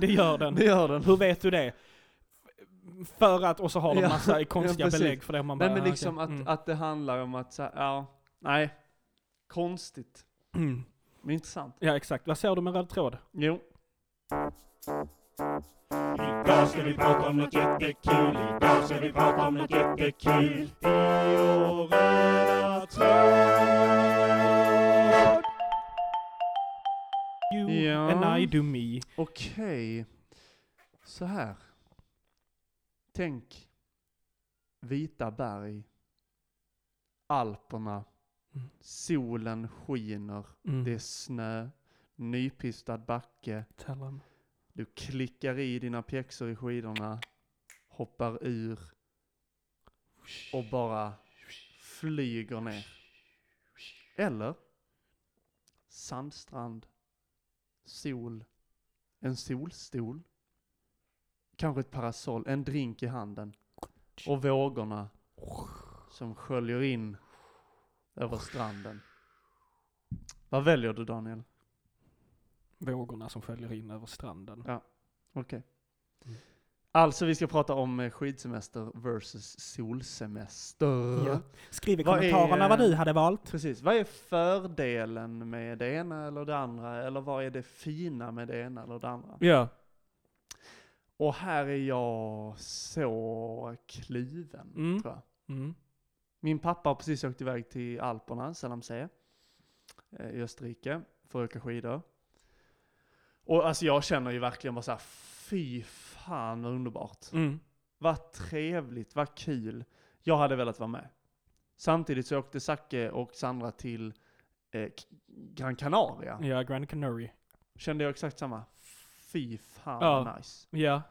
S2: Det gör den.
S1: det gör den.
S2: Hur vet du det? För att, och så har de
S1: Ja,
S2: massa
S1: ja,
S2: konstiga
S1: precis.
S2: belägg för det. Man bara,
S1: Nej men
S2: ah,
S1: liksom
S2: okej.
S1: att,
S2: Mm.
S1: att det handlar om att så här, ja, nej. Konstigt,
S2: Mm.
S1: men intressant.
S2: Ja, exakt. Vad ser du med röd tråd?
S1: Jo.
S3: Idag ska vi prata om något jättekul. Idag ska vi prata om något jättekul. I vår röda tråd.
S2: You
S1: Ja.
S2: and I do me.
S1: Okej. Så här. Tänk vita berg, Alperna,
S2: Mm.
S1: solen skiner,
S2: Mm.
S1: det är snö, nypistad backe,
S2: Talon.
S1: du klickar i dina pjäxor i skidorna, hoppar ur och bara flyger ner. Eller sandstrand, sol, en solstol, kanske ett parasoll, en drink i handen och vågorna som sköljer in över stranden. Vad väljer du Daniel?
S2: Vågorna som sköljer in över stranden.
S1: Okej.
S2: Mm.
S1: Alltså vi ska prata om eh, skidsemester versus solsemester.
S2: Ja. Skriv i
S1: Vad är,
S2: kommentarerna vad
S1: eh,
S2: du hade valt.
S1: Precis, vad är fördelen med det ena eller det andra? Eller vad är det fina med det ena eller det andra?
S2: Ja.
S1: Och här är jag så kluven,
S2: Mm.
S1: tror jag.
S2: Mm.
S1: Min pappa har precis åkt iväg till Alperna, Salamsee, eh, i Österrike, för att åka skidor. Och alltså jag känner ju verkligen bara så här, fy fan vad underbart.
S2: Mm.
S1: Vad trevligt, vad kul. Jag hade velat vara med. Samtidigt så åkte Zacke och Sandra till eh, K- Gran Canaria.
S2: Ja, Grand Canary.
S1: Kände jag exakt samma. Fy fan
S2: Ja.
S1: vad nice.
S2: Ja.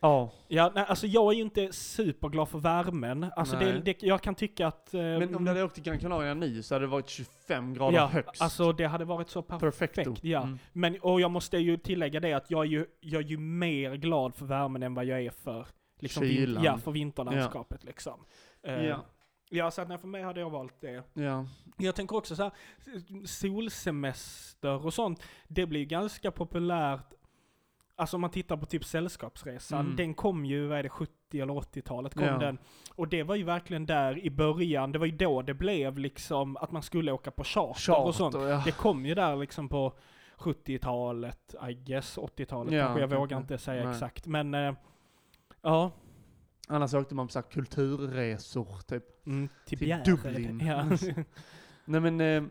S1: Ja,
S2: Ja, nej, alltså jag är ju inte superglad för värmen. Alltså det,
S1: Nej.
S2: det, jag kan tycka att... eh,
S1: men om du hade åkt till Gran Canaria nu så hade det varit 25 grader
S2: ja,
S1: högst.
S2: Alltså det hade varit så perfekt.
S1: Perfekto.
S2: ja.
S1: Mm.
S2: Men, och jag måste ju tillägga det att jag är ju, jag är ju mer glad för värmen än vad jag är för, liksom, vin,
S1: Kylan.
S2: ja, för vinterlandskapet. Liksom. Eh,
S1: Ja.
S2: ja, så att nej, för mig hade jag valt det.
S1: Ja.
S2: Jag tänker också så här, solsemester och sånt, det blir ju ganska populärt. Alltså om man tittar på typ Sällskapsresan,
S1: Mm.
S2: den kom ju, vad är det, 70 eller 80-talet kom
S1: Ja.
S2: den. Och det var ju verkligen där i början, det var ju då det blev liksom att man skulle åka på charter, och sånt.
S1: Charter, ja.
S2: Det kom ju där liksom på 70-talet, I guess, 80-talet
S1: Ja,
S2: kanske, jag
S1: kanske.
S2: vågar inte säga
S1: Nej.
S2: exakt. Men eh, ja,
S1: Annars åkte man på så här kulturresor typ.
S2: mm, till,
S1: Till
S2: Bjärred.
S1: Dublin. alltså.
S2: Ja.
S1: Nej men, eh,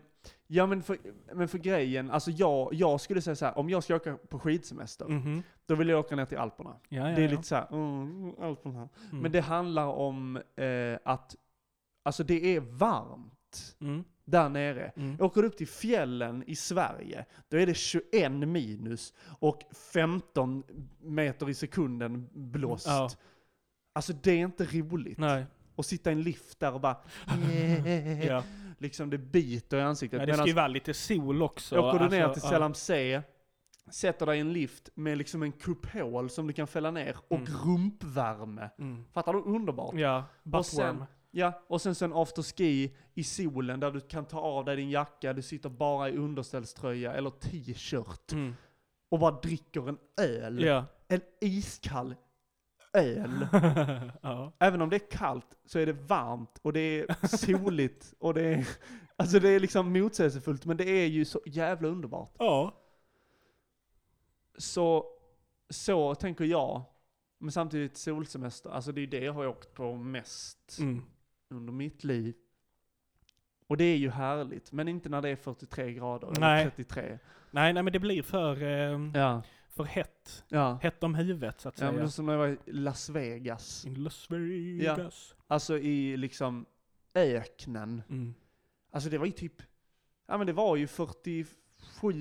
S1: ja men för, men för grejen, alltså jag, jag skulle säga så här, om jag ska åka på skidsemester,
S2: Mhm.
S1: då vill jag åka ner till Alperna.
S2: ja, ja,
S1: det är
S2: ja.
S1: lite såhär, mm, Alperna.
S2: Mm.
S1: Men det handlar om eh, att, alltså det är varmt
S2: Mm.
S1: där nere.
S2: Mm.
S1: Åker du upp till fjällen i Sverige, då är det 21 minus och 15 meter i sekunden blåst.
S2: Ja.
S1: Alltså det är inte roligt.
S2: Nej,
S1: Och sitta i en lift där och bara,
S2: ja.
S1: liksom det biter i ansiktet.
S2: Nej, det
S1: Medans-
S2: ska ju vara lite sol också. alltså,
S1: Åker du ner till
S2: ja.
S1: Selamsee, sätter dig i en lift med liksom en kupol som du kan fälla ner och
S2: Mm.
S1: rumpvärme.
S2: Mm.
S1: Fattar du? Underbart.
S2: Ja, buttworm.
S1: sen- Ja, och sen så en afterski i solen där du kan ta av dig din jacka, du sitter bara i underställströja eller t-shirt
S2: Mm.
S1: och bara dricker en öl.
S2: Ja.
S1: En iskall öl.
S2: ja.
S1: Även om det är kallt så är det varmt och det är soligt och det är, alltså det är liksom motsägelsefullt men det är ju så jävla underbart.
S2: Ja.
S1: Så, så tänker jag. Men samtidigt solsemester, alltså det är ju det jag har åkt på mest
S2: Mm.
S1: under mitt liv. Och det är ju härligt, men inte när det är 43 grader
S2: Nej.
S1: eller 33.
S2: Nej, nej, men det blir för, eh,
S1: Ja,
S2: för hett.
S1: ja.
S2: Hett om huvudet, så att
S1: ja men
S2: säga.
S1: det är som när jag var i Las Vegas.
S2: In Las Vegas.
S1: Alltså i liksom öknen.
S2: Mm.
S1: Alltså det var ju typ, ja men det var ju 47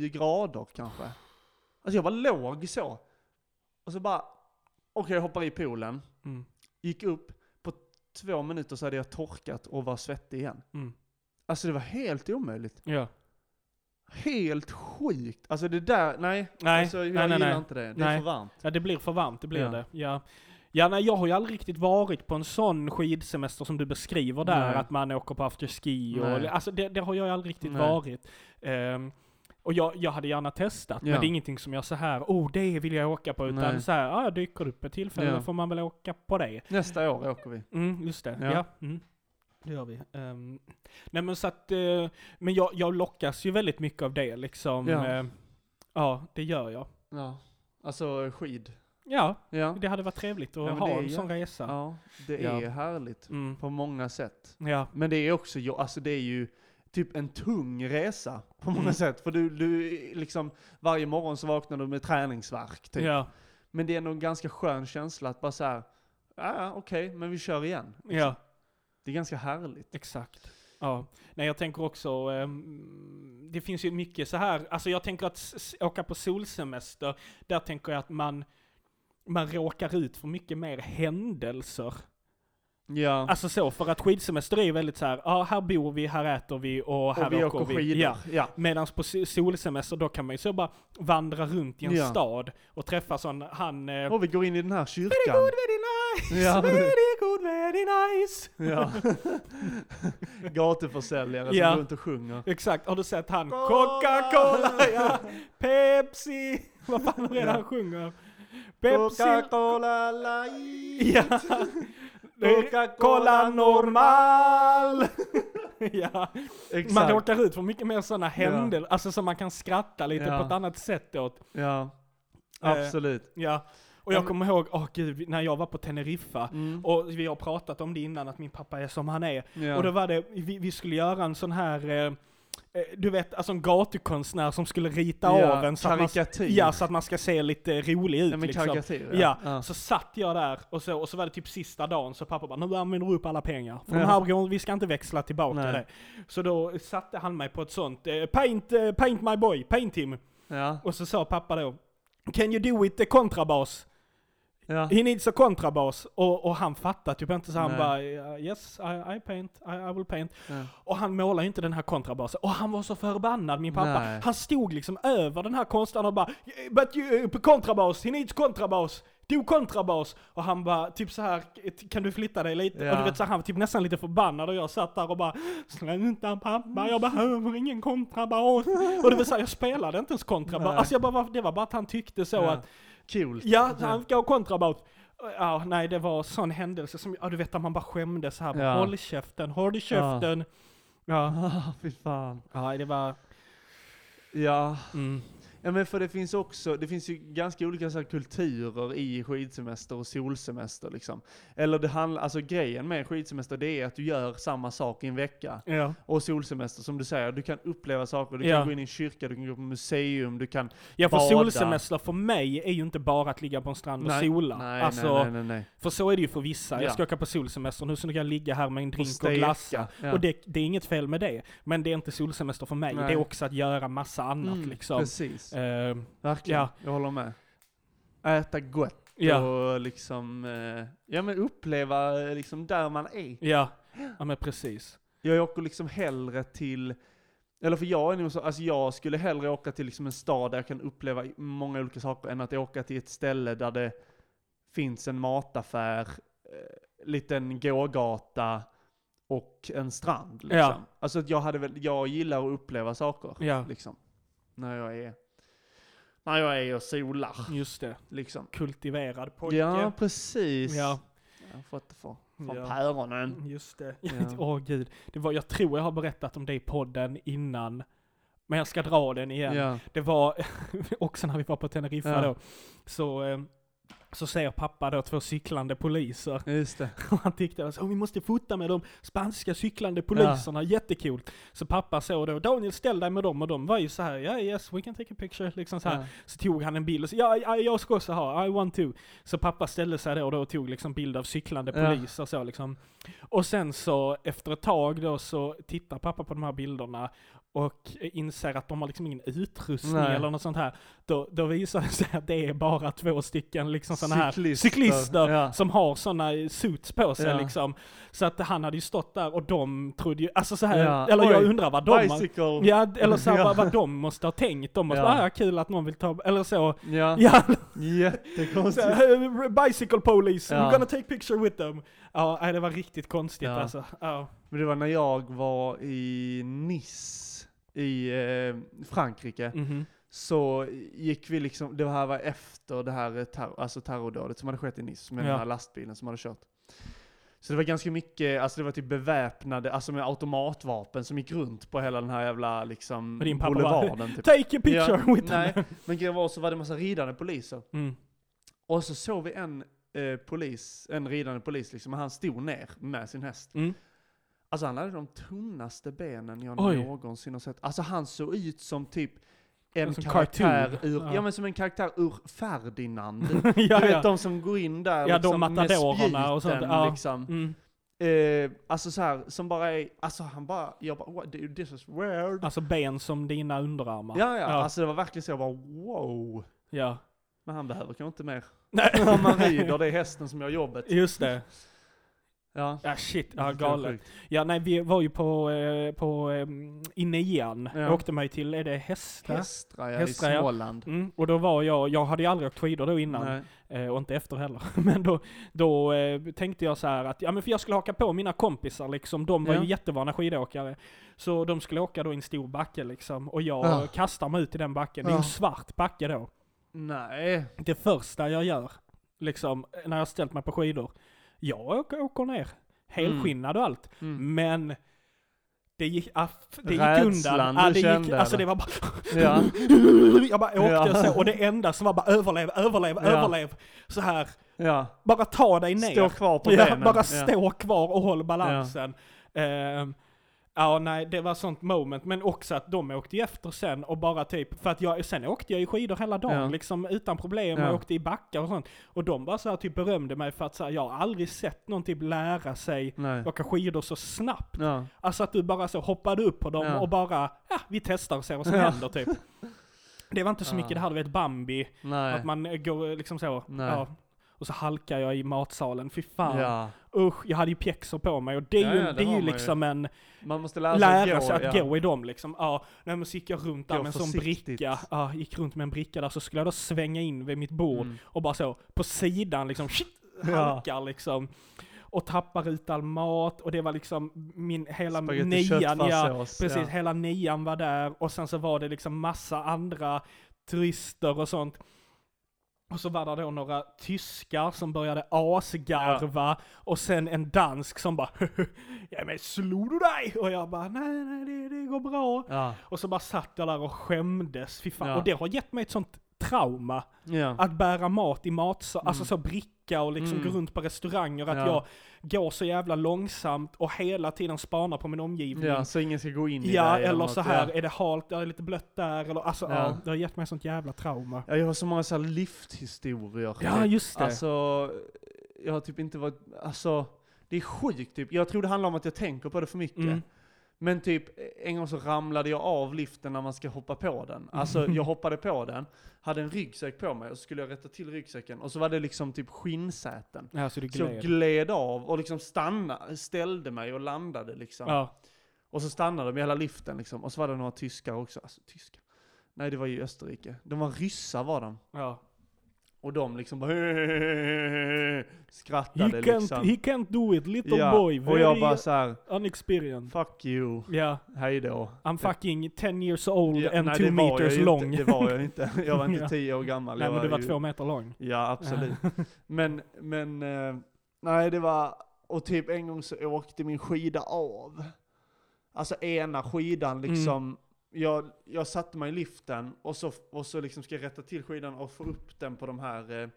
S1: grader kanske. Alltså jag bara låg så. Och så bara, okej jag hoppar i poolen.
S2: Mm.
S1: Gick upp, på två minuter så hade jag torkat och var svettig igen.
S2: Mm.
S1: Alltså det var helt omöjligt.
S2: Ja.
S1: Helt sjukt. Alltså det där, nej.
S2: Nej,
S1: alltså, jag
S2: nej, nej,
S1: gillar
S2: nej.
S1: inte det. Det
S2: Nej.
S1: är för varmt.
S2: ja, det blir för varmt, det blir
S1: Ja.
S2: det. Ja. Ja, nej, jag har ju aldrig riktigt varit på en sån skidsemester som du beskriver där,
S1: Nej.
S2: att man åker på afterski och...
S1: Nej.
S2: Alltså det, det har jag ju aldrig riktigt
S1: Nej.
S2: varit. Ehm, och jag, jag hade gärna testat,
S1: Ja.
S2: men det är ingenting som jag så här, oh det vill jag åka på, utan
S1: Nej.
S2: så här, ah, dyker upp ett tillfälle
S1: Ja.
S2: får man väl åka på det.
S1: Nästa år åker vi.
S2: Mm, just det. Ja.
S1: Ja.
S2: mm. Det gör vi. Ehm, nej men så att, eh, men jag, jag lockas ju väldigt mycket av det liksom.
S1: Ja.
S2: Ja, ja det gör jag.
S1: Ja. Alltså skid.
S2: Ja,
S1: Ja.
S2: det hade varit trevligt att
S1: Ja, men
S2: ha
S1: det är
S2: en
S1: ju-
S2: sån resa. Ja.
S1: Ja, det
S2: Ja.
S1: är härligt.
S2: Mm.
S1: På många sätt.
S2: Ja.
S1: Men det är också, jo- alltså det är ju typ en tung resa på många
S2: Mm.
S1: sätt. För du, du liksom, varje morgon så vaknar du med träningsvärk typ.
S2: ja.
S1: Men det är ändå en ganska skön känsla att bara så här, ja ja, okej, men vi kör igen.
S2: Ja,
S1: Det är ganska härligt.
S2: exakt. Ja. Nej, jag tänker också, ehm, det finns ju mycket så här, alltså jag tänker att s- s- åka på solsemester, där tänker jag att man, man råkar ut för mycket mer händelser.
S1: Ja,
S2: Alltså så, för att skidsemester är ju väldigt så här, ja här bor vi, här äter vi och här
S1: och vi åker skidor.
S2: Ja.
S1: Ja. Ja.
S2: Medan på so- solsemester då kan man ju så bara vandra runt i en
S1: Ja.
S2: stad och träffa sån, han... Eh,
S1: Och vi går in i den här
S2: Very good,
S1: kyrkan.
S2: very nice!
S1: Ja.
S2: Very good, very nice!
S1: Ja. Gatuförsäljare som
S2: Ja.
S1: går runt och sjunger.
S2: Exakt, har du sett han?
S1: Cola!
S2: Coca-Cola, ja! Pepsi! Vad fan är det
S1: Ja.
S2: han sjunger? Pepsi!
S1: Coca-Cola light!
S2: Ja! Coca-Cola normal! ja. Man
S1: Exakt.
S2: råkar ut för mycket mer sådana händelser, alltså som man kan skratta lite
S1: Ja.
S2: på ett annat sätt åt.
S1: Ja, absolut.
S2: Ja. Och
S1: Ja,
S2: jag
S1: men-
S2: kommer ihåg, åh gud, när jag var på Teneriffa,
S1: Mm.
S2: och vi har pratat om det innan, att min pappa är som han är.
S1: Ja.
S2: Och då var det, vi, vi skulle göra en sån här, eh, eh, du vet, alltså en gatukonstnär som skulle rita
S1: Ja,
S2: av en så att, man,
S1: karikatyr.
S2: ja, så att man ska se lite rolig ut
S1: ja, men
S2: liksom.
S1: karikatyr.
S2: Ja,
S1: ja.
S2: så satt jag där och så, och så var det typ sista dagen så pappa bara nu använder du upp alla pengar. För de
S1: Ja.
S2: här går, vi ska inte växla tillbaka
S1: Nej.
S2: det. Så då satte han mig på ett sånt, eh, paint, eh, paint my boy, paint him.
S1: Ja.
S2: Och så sa pappa då, can you do it eh, kontrabas?
S1: Ja.
S2: He needs a kontrabas. Och, och han fattade typ inte så han
S1: Nej.
S2: bara, "Yeah, yes I, I paint, I, I will paint.
S1: Ja.
S2: Och han målar ju inte den här kontrabasen. Och han var så förbannad min pappa.
S1: Nej.
S2: Han stod liksom över den här konstnären och bara But you, kontrabas, he needs kontrabas, do kontrabas. Och han bara typ så här kan du flytta dig lite?
S1: Ja.
S2: Och du vet så här, han var typ nästan lite förbannad och jag satt där och bara Sluta pappa, jag behöver ingen kontrabas. och det var så här, jag spelade inte ens kontrabas.
S1: Nej.
S2: Alltså jag bara, var- det var bara att han tyckte så
S1: Ja.
S2: att
S1: Kul.
S2: Ja, så han ska ha kontrabas. Ja, nej det var sån händelse som, ja du vet att man bara skämdes här.
S1: Ja.
S2: Håll käften, håll käften. Ja.
S1: Ah, fy fan.
S2: Ja, det var...
S1: Ja.
S2: Mm,
S1: ja, men för det finns också, det finns ju ganska olika så här kulturer i skidsemester och solsemester liksom. Eller det handlar, alltså grejen med skidsemester det är att du gör samma sak i en vecka.
S2: Ja.
S1: Och solsemester, som du säger, du kan uppleva saker, du
S2: Ja.
S1: kan gå in i en kyrka, du kan gå på museum, du kan...
S2: ja, för
S1: Bada.
S2: solsemester för mig är ju inte bara att ligga på en strand och sola.
S1: nej,
S2: alltså,
S1: nej, nej, nej, nej.
S2: För så är det ju för vissa. Jag
S1: Ja.
S2: ska åka på solsemester nu så nu kan jag ligga här med en drink och,
S1: steka.
S2: glassa.
S1: Ja.
S2: Och det, det är inget fel med det. Men det är inte solsemester för mig.
S1: Nej.
S2: Det är också att göra massa annat
S1: Mm,
S2: liksom.
S1: Precis,
S2: Eh,
S1: verkligen.
S2: ja.
S1: Jag håller med. Äta gott
S2: ja.
S1: och liksom, eh, ja men uppleva eh, liksom där man är.
S2: ja. Ja, men precis.
S1: Jag åker liksom hellre till, eller för jag är nog så, alltså jag skulle hellre åka till liksom en stad där jag kan uppleva många olika saker än att åka till ett ställe där det finns en mataffär, eh, liten gågata och en strand. Liksom.
S2: Ja.
S1: Alltså att jag, hade väl, jag gillar att uppleva saker.
S2: Ja,
S1: Liksom, när jag är, när jag är och solar.
S2: just det.
S1: Liksom.
S2: Kultiverad pojke.
S1: Ja, precis.
S2: Ja.
S1: Jag har fått det för, från
S2: Ja.
S1: päronen.
S2: Just det.
S1: Ja.
S2: Åh gud. Det var, jag tror jag har berättat om det i podden innan. Men jag ska dra den igen.
S1: Ja.
S2: Det var också när vi var på Teneriffa
S1: Ja.
S2: då. Så, eh, så ser pappa då två cyklande poliser.
S1: Just det.
S2: Och han tyckte att vi måste fota med de spanska cyklande poliserna, jättekul. Så pappa såg då, Daniel ställ dig med dem och de var ju så här, ja yes we can take a picture, liksom så här.
S1: Ja.
S2: Så tog han en bild och så, ja, ja jag ska också ha, I want to. Så pappa ställde sig då och då och tog liksom bild av cyklande
S1: Ja.
S2: poliser och så liksom. Och sen så efter ett tag då så tittar pappa på de här bilderna och inser att de har liksom ingen utrustning
S1: Nej.
S2: eller något sånt här. Då, då visar det sig att det är bara två stycken liksom sådana här
S1: Cyklister.
S2: cyklister
S1: Ja.
S2: som har sådana suits på sig
S1: Ja.
S2: liksom. Så att han hade ju stått där och de trodde ju, alltså så här,
S1: Ja.
S2: eller jag
S1: Oj,
S2: undrar vad de har,
S1: Bicycle.
S2: Ja, eller så här,
S1: Ja.
S2: vad, vad de måste ha tänkt. De måste,
S1: Ja.
S2: ah, ja. kul att någon vill ta, eller så.
S1: Ja.
S2: Ja, så
S1: Jättekonstigt.
S2: här, "Eh, bicycle police,
S1: Ja.
S2: we're gonna take picture with them. Ja, nej, det var riktigt konstigt
S1: Ja.
S2: alltså. Ja.
S1: Men det var när jag var i Nice i eh, Frankrike.
S2: Mhm.
S1: Så gick vi liksom, det här var efter det här eh, terror, alltså terrordådet som hade skett i Nice med
S2: Ja.
S1: den här lastbilen som hade kört. Så det var ganska mycket, alltså det var typ beväpnade, alltså med automatvapen som gick runt på hela den här jävla liksom
S2: Och din pappa bara,
S1: boulevarden. Typ.
S2: Take a picture
S1: ja,
S2: with
S1: nej,
S2: them.
S1: men grejen var så var det massa ridande poliser.
S2: Mm.
S1: Och så såg vi en eh, polis, en ridande polis liksom, och han stod ner med sin häst.
S2: Mm.
S1: Alltså han hade de tunnaste benen jag
S2: Oj.
S1: någonsin har sett. Alltså han såg ut som typ en
S2: Som
S1: karaktär
S2: cartoon.
S1: ur, ja.
S2: Ja.
S1: men som en karaktär ur Ferdinand.
S2: ja,
S1: du vet
S2: ja.
S1: de som går in där
S2: Ja, de
S1: liksom, med
S2: matadorerna och sånt,
S1: spjuten,
S2: ja.
S1: liksom. Eh,
S2: Mm.
S1: alltså så här, som bara är, alltså han bara, jag bara, what, dude, this is weird.
S2: Alltså ben som dina underarmar.
S1: ja, ja,
S2: ja.
S1: alltså det var verkligen så, jag bara wow.
S2: Ja.
S1: Men han behöver kanske inte mer.
S2: Nej.
S1: Om man rider, det är hästen som gör jobbet.
S2: Just det.
S1: Ja,
S2: Ja, shit. Ja,
S1: Det är
S2: galet.
S1: sjukt.
S2: Ja, nej, vi var ju på, eh, på eh, i nian.
S1: Ja.
S2: Då åkte man ju till, är det Hästra?
S1: Hästra, ja,
S2: Hästra,
S1: i
S2: ja.
S1: Småland.
S2: Mm, och då var jag, jag hade ju aldrig åkt skidor då innan.
S1: Nej.
S2: Eh, och inte efter heller. Men då, då eh, tänkte jag så här att, ja men för jag skulle haka på mina kompisar liksom, de var
S1: Ja.
S2: ju jättevana skidåkare. Så de skulle åka då i en stor backe liksom, och jag
S1: Ah.
S2: kastar mig ut i den backen. Det är
S1: Ah.
S2: en svart backe då.
S1: Nej.
S2: Det första jag gör, liksom, när jag ställt mig på skidor, jag åker, åker ner. Helskinnad och allt.
S1: Mm.
S2: Men det gick, ah, f- det gick
S1: Rädslan
S2: undan.
S1: du
S2: Ah, det gick,
S1: kände,
S2: alltså
S1: eller?
S2: det var bara
S1: Ja.
S2: jag bara åkte
S1: Ja.
S2: och så, och det enda som var bara överlev, överlev,
S1: Ja.
S2: överlev. Så här,
S1: ja.
S2: bara ta dig ner.
S1: Stå kvar på
S2: ja,
S1: benen.
S2: bara stå kvar och håll balansen. Ja. ja, nej, det var sånt moment. Men också att de åkte ju efter sen och bara typ, för att jag, sen åkte jag ju skidor hela dagen
S1: Ja.
S2: liksom utan problem
S1: Ja.
S2: och åkte i backar och sånt. Och de bara så här typ berömde mig för att så här, jag har aldrig sett någon typ lära sig
S1: Nej.
S2: åka skidor så snabbt.
S1: Ja.
S2: Alltså att du bara så hoppade upp på dem
S1: Ja.
S2: och bara, ja, vi testar och ser vad som
S1: Ja.
S2: händer typ. Det var inte så
S1: Ja.
S2: mycket det här du vet Bambi,
S1: Nej.
S2: att man eh, går eh, liksom så.
S1: Nej.
S2: Ja. Och så halkar jag i matsalen, fy fan.
S1: ja.
S2: Usch, jag hade ju pjäxor på mig och det
S1: Ja,
S2: är ju,
S1: ja, det
S2: det är
S1: har
S2: ju
S1: man ju.
S2: liksom en
S1: Man måste lära sig
S2: lära sig
S1: gå,
S2: att
S1: ja.
S2: gå i dem liksom. Ja, nej, men så gick jag runt där
S1: Gå
S2: med en sån
S1: försiktigt.
S2: bricka. Ja, gick runt med en bricka där så skulle jag då svänga in vid mitt bord
S1: Mm.
S2: och bara så på sidan liksom shit,
S1: Ja.
S2: halkar liksom. Och tappar ut all mat och det var liksom min hela
S1: Spagetti
S2: nian. Ja,
S1: köttfärssås,
S2: precis,
S1: ja.
S2: hela nian var där och sen så var det liksom massa andra turister och sånt. Och så var det då några tyskar som började asgarva och sen en dansk som bara ja men slog du dig? Och jag bara nej nej det, det går bra.
S1: Ja.
S2: Och så bara satt jag där och skämdes, fy fan.
S1: Ja.
S2: Och det har gett mig ett sånt trauma.
S1: Ja.
S2: Att bära mat i matsal, alltså så bricka och liksom
S1: Mm.
S2: gå runt på restauranger, att
S1: Ja.
S2: jag går så jävla långsamt och hela tiden spanar på min omgivning.
S1: ja, så ingen ska gå in i
S2: Ja,
S1: dig
S2: eller
S1: något,
S2: så här, är det halt, är det lite blött där? Eller, alltså,
S1: Ja.
S2: ja. det har gett mig sånt jävla trauma.
S1: Ja, jag har så många så här lifthistorier.
S2: Ja, just det.
S1: Alltså, jag har typ inte varit, alltså, det är sjukt typ. Jag tror det handlar om att jag tänker på det för mycket.
S2: Mm.
S1: Men typ, en gång så ramlade jag av liften när man ska hoppa på den. Alltså jag hoppade på den, hade en ryggsäck på mig och så skulle jag rätta till ryggsäcken. Och så var det liksom typ skinnsäten.
S2: Ja, så du
S1: Så jag gled av och liksom stannade, ställde mig och landade liksom.
S2: Ja.
S1: Och så stannade de i hela liften liksom. Och så var det några tyskar också. Alltså tyskar? Nej det var ju Österrike. De var ryssar var de.
S2: Ja.
S1: Och de liksom bara
S2: He,
S1: skrattade
S2: can't,
S1: liksom.
S2: he can't do it, little
S1: ja,
S2: boy.
S1: och jag
S2: Very
S1: bara så här,
S2: unexperienced.
S1: fuck you,
S2: Ja,
S1: hej då.
S2: I'm fucking 10 years old
S1: Ja,
S2: and
S1: nej,
S2: 2
S1: det var jag
S2: meters
S1: ju
S2: long.
S1: Inte, det var jag inte. Jag var inte
S2: Ja.
S1: tio år gammal.
S2: Nej
S1: jag
S2: men du var
S1: ju-
S2: två meter lång.
S1: Ja, absolut. men, men, eh, nej det var, och typ en gång så åkte min skida av. Alltså ena skidan
S2: Mm.
S1: liksom. Jag, jag satte mig i liften och så, och så liksom ska jag rätta till skidan och få upp den på de här, eh, eh,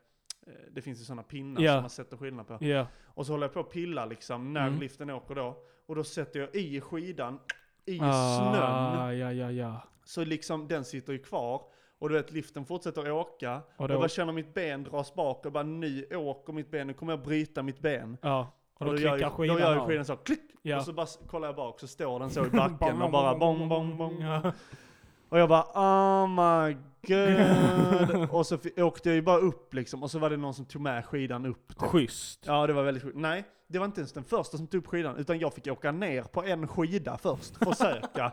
S1: det finns ju sådana pinnar
S2: Ja.
S1: som man sätter skidorna på.
S2: Ja.
S1: Och så håller jag på och pillar liksom när
S2: Mm.
S1: liften åker då. Och då sätter jag i skidan, i snön.
S2: Ah, ja, ja, ja.
S1: Så liksom den sitter ju kvar. Och du vet liften fortsätter åka.
S2: Och
S1: Och
S2: då-
S1: jag bara känner mitt ben dras bak och bara nu åker mitt ben, nu kommer jag bryta mitt ben.
S2: Ja. Och då,
S1: gör
S2: klickar
S1: jag,
S2: skidan
S1: då gör jag
S2: av.
S1: skidan så, klick!
S2: Ja.
S1: Och så bara s- kollar jag bak så står den så i backen och bara bong, bong, bong.
S2: Ja.
S1: Och jag bara oh my god. och så fi- åkte jag ju bara upp liksom och så var det någon som tog med skidan upp. typ.
S2: Schysst.
S1: Ja, det var väldigt sjukt. Nej, det var inte ens den första som tog upp skidan, utan jag fick åka ner på en skida först, försöka.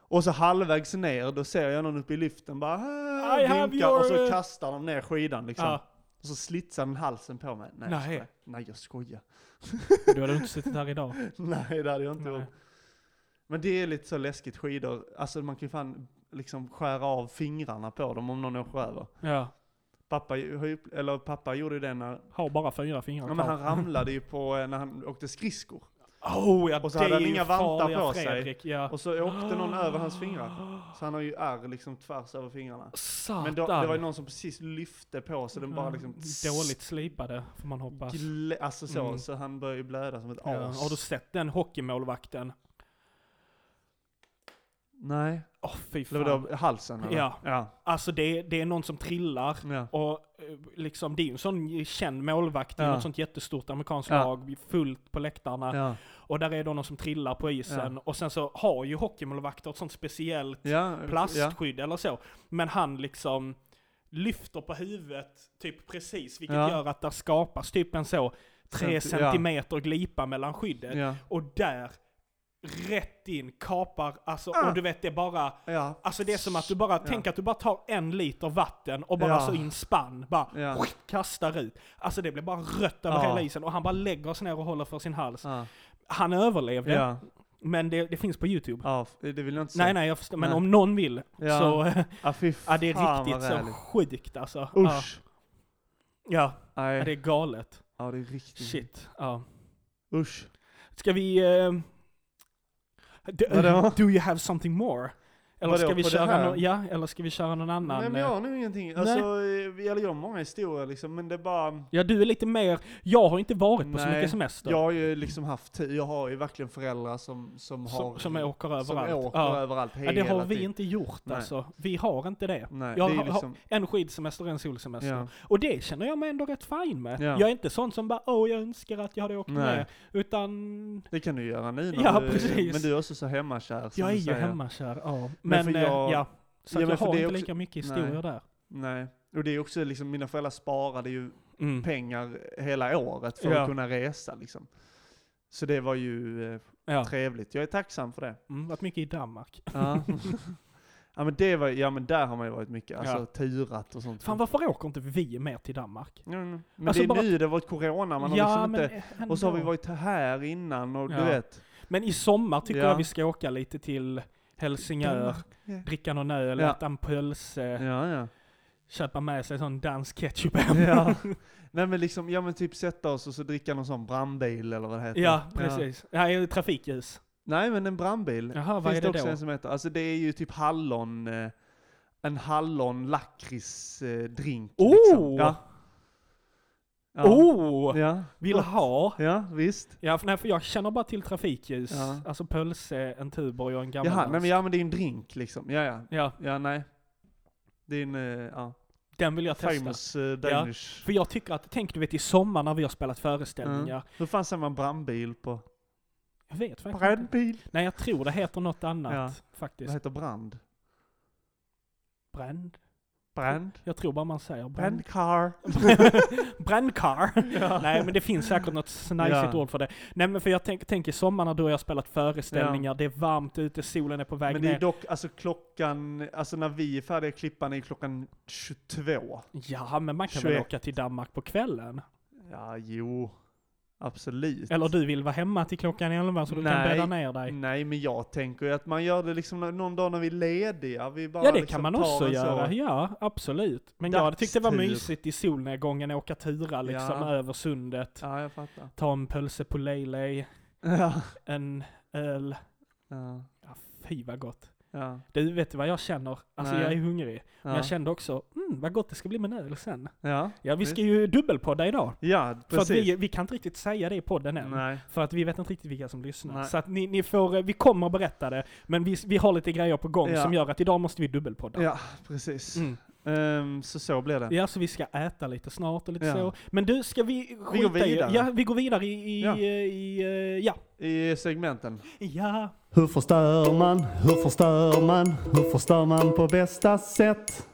S1: och så halvvägs ner, då ser jag någon uppe i liften bara "Ah",
S2: I have
S1: vinkar,
S2: your,
S1: och så
S2: eh,
S1: kastar de ner skidan liksom.
S2: Ja.
S1: Och så slitsar den halsen på mig. Nej,
S2: Nej.
S1: jag skojar. Nej, jag skojar.
S2: Du hade inte suttit här idag.
S1: Nej, det hade jag inte
S2: Nej.
S1: gjort. Men det är lite så läskigt skidor. Alltså man kan ju fan liksom skära av fingrarna på dem om någon åker över.
S2: Ja.
S1: Pappa, har ju- eller pappa gjorde ju det när,
S2: Har bara fyra fingrar
S1: ja, men han ramlade ju på eh, när han åkte skridskor.
S2: Oh, ja,
S1: Och så
S2: det
S1: hade han
S2: är ju
S1: inga vantar
S2: farliga
S1: på sig.
S2: Fredrik. Ja.
S1: Och så åkte någon över hans fingrar. Så han har ju ärr liksom tvärs över fingrarna.
S2: Satan. Mm,
S1: Men då, det var ju någon som precis lyfte på så den bara liksom...
S2: Dåligt slipade, får man hoppas.
S1: Gle- alltså så,
S2: Mm.
S1: så han började ju blöda som ett
S2: Ja.
S1: as.
S2: Har du sett den hockeymålvakten?
S1: Nej,
S2: Åh fy
S1: det var
S2: fan.
S1: då halsen eller?
S2: Ja.
S1: ja.
S2: Alltså det, det är någon som trillar.
S1: ja.
S2: Och eh, liksom, det är ju en sån känd målvakt i
S1: Ja.
S2: något sånt jättestort amerikanskt
S1: Ja.
S2: lag, fullt på läktarna.
S1: ja.
S2: Och där är då någon som trillar på isen. Och sen så har ju hockeymålvakter ett sånt speciellt
S1: ja. Ja.
S2: plastskydd eller så. Men han liksom lyfter på huvudet typ precis, vilket
S1: Ja.
S2: gör att där skapas typ en så tre
S1: Centi- ja.
S2: centimeter glipa mellan skyddet.
S1: Ja.
S2: Och där, rätt in, kapar, alltså,
S1: Ah.
S2: och du vet det är bara
S1: Ja.
S2: Alltså det är som att du bara, tänk att du bara tar en liter vatten och bara
S1: Ja.
S2: så in spann, bara
S1: Ja.
S2: kastar ut. Alltså det blev bara rött över
S1: Ja.
S2: hela isen och han bara lägger sig ner och håller för sin hals.
S1: Ja.
S2: Han överlevde,
S1: Ja.
S2: men det, det finns på YouTube.
S1: ja, f- det vill jag inte säga.
S2: Nej nej jag förstår, men
S1: Nej.
S2: om någon vill
S1: Ja.
S2: så,
S1: Ja, fy
S2: ja det är
S1: fan
S2: riktigt
S1: vad
S2: så
S1: räligt.
S2: sjukt alltså. Ja.
S1: Usch.
S2: Ja. ja, det
S1: Nej. Mm.
S2: är galet.
S1: Ja, det är riktigt.
S2: Shit. Ja.
S1: Usch.
S2: Ska vi... eh, do,
S1: Vadå?
S2: do you have something more? Eller
S1: Vadå,
S2: ska, vi
S1: på det
S2: köra
S1: här?
S2: no- ja, eller ska vi köra någon annan?
S1: Nej men
S2: eh,
S1: jag har nog ingenting. Alltså, eh, eller jag har många historier liksom, men det är bara...
S2: Ja, du är lite mer... Jag har inte varit på så
S1: Nej,
S2: mycket semester.
S1: Jag har ju liksom haft tur. Jag har ju verkligen föräldrar som, som har...
S2: som, som jag åker
S1: som
S2: överallt.
S1: åker
S2: ja.
S1: överallt
S2: ja,
S1: hela
S2: det har vi
S1: tiden.
S2: inte gjort
S1: Nej.
S2: alltså. Vi har inte det.
S1: Nej,
S2: jag
S1: det är ju
S2: har- alltså.
S1: liksom...
S2: En skidsemester och en solsemester.
S1: Ja.
S2: Och det känner jag mig ändå rätt fin med.
S1: Ja.
S2: Jag är inte sån som bara åh, jag önskar att jag hade åkt
S1: Nej.
S2: med. Utan
S1: Det kan du göra nu när
S2: Ja,
S1: du,
S2: precis.
S1: Men du är också så hemmakär. som
S2: jag är
S1: du
S2: ju
S1: säger.
S2: hemmakär. Ja.
S1: Men
S2: Men,
S1: för
S2: eh,
S1: jag-
S2: ja. Så
S1: Ja, men
S2: att jag
S1: för
S2: har
S1: det
S2: inte
S1: är också-
S2: lika mycket historier
S1: Nej.
S2: där.
S1: Nej. Och det är också liksom, mina föräldrar sparade ju
S2: Mm.
S1: pengar hela året för
S2: Ja.
S1: att kunna resa liksom. Så det var ju eh,
S2: Ja.
S1: trevligt. Jag är tacksam för det.
S2: Mm, varit mycket i Danmark.
S1: Ja. ja men det var, ja men där har man ju varit mycket, alltså
S2: Ja.
S1: turat och sånt.
S2: Fan varför åker inte vi mer till Danmark?
S1: Ja, ja. Men
S2: Alltså
S1: det är
S2: bara-
S1: nu, det har varit corona, man har
S2: ja,
S1: liksom
S2: men
S1: inte...
S2: ändå.
S1: Och så har vi varit här innan och
S2: Ja.
S1: du vet.
S2: Men i sommar tycker
S1: Ja.
S2: jag vi ska åka lite till Helsingör,
S1: Ja.
S2: dricka någon öl,
S1: Ja.
S2: äta en pölse,
S1: Ja, ja.
S2: köpa med sig sån dansk ketchup hem.
S1: ja. Nej men liksom, ja men typ sätta oss och så dricka någon sån brandbil eller vad det heter.
S2: Ja, precis. Det här är ju trafikljus.
S1: Nej men en brandbil.
S2: Jaha, vad
S1: Finns
S2: är
S1: det
S2: det
S1: också
S2: då?
S1: en som heter, alltså det är ju typ hallon, eh, en hallon lakritsdrink.
S2: Oh!
S1: Liksom. Ja. Ja.
S2: Oh!
S1: Ja.
S2: Vill ha!
S1: ja, visst.
S2: Ja, för, nej, för jag känner bara till trafikljus.
S1: Ja.
S2: Alltså pölse, en Tuborg och en gammal
S1: Jaha, nej
S2: dansk.
S1: men ja men det är ju en drink liksom. Ja, ja.
S2: Ja,
S1: Ja, nej. Det är en, eh, ja.
S2: den vill jag testa.
S1: Famous eh, Danish.
S2: För jag tycker att, tänk du vet i sommar när vi har spelat föreställningar.
S1: Hur fan säger man brandbil på?
S2: Jag vet faktiskt inte.
S1: Brandbil?
S2: Nej, jag tror det heter något annat
S1: Vad
S2: faktiskt.
S1: heter brand?
S2: Bränd?
S1: Brand?
S2: Jag tror bara man säger bränd.
S1: Brandcar?
S2: Brännkarl.
S1: Ja.
S2: Nej men det finns säkert något snajsigt
S1: Ja.
S2: ord för det. Nej men för jag tänk- tänker sommar när du och jag har spelat föreställningar, det är varmt ute, solen är på väg
S1: Men det är
S2: ner.
S1: dock, alltså klockan, alltså när vi är färdiga klippan är klockan 22.
S2: Ja men man kan väl
S1: 21.
S2: åka till Danmark på kvällen?
S1: Ja, jo. Absolut.
S2: Eller du vill vara hemma till klockan 11 så du kan
S1: Nej.
S2: bädda ner dig?
S1: Nej, men jag tänker ju att man gör det liksom när- någon dag när vi är lediga. Vi bara
S2: Ja det
S1: liksom
S2: kan man
S1: tar
S2: också
S1: en så-
S2: göra, ja absolut. Men jag tyckte det var
S1: Dagstur.
S2: mysigt i solnedgången, åka tura liksom
S1: Ja.
S2: över sundet,
S1: Ja, jag fattar.
S2: ta en pölse på Lejlej,
S1: Ja.
S2: en öl.
S1: Ja.
S2: Ja, fy vad gott.
S1: Ja.
S2: Du, vet du vad jag känner? Alltså
S1: Nej.
S2: jag är hungrig. Men
S1: Ja.
S2: jag kände också, mm, vad gott det ska bli med en öl sen.
S1: Ja.
S2: Ja, vi ska ju dubbelpodda idag.
S1: ja,
S2: För att
S1: precis.
S2: vi, vi kan inte riktigt säga det i podden än.
S1: Nej.
S2: För att vi vet inte riktigt vilka som lyssnar.
S1: Nej.
S2: Så att ni, ni får, eh, vi kommer att berätta det, men vi, vi har lite grejer på gång
S1: Ja.
S2: som gör att idag måste vi dubbelpodda.
S1: Ja, precis.
S2: Mm.
S1: Ehm, så så blir det.
S2: Ja, så vi ska äta lite snart och lite
S1: Ja.
S2: så. Men du, ska vi skita i-
S1: vidare.
S2: Ja, vi går vidare i... i,
S1: Ja.
S2: eh, i eh, ja.
S1: I segmenten.
S2: ja.
S3: Hur förstör man? Hur förstör man? Hur förstör man på bästa sätt?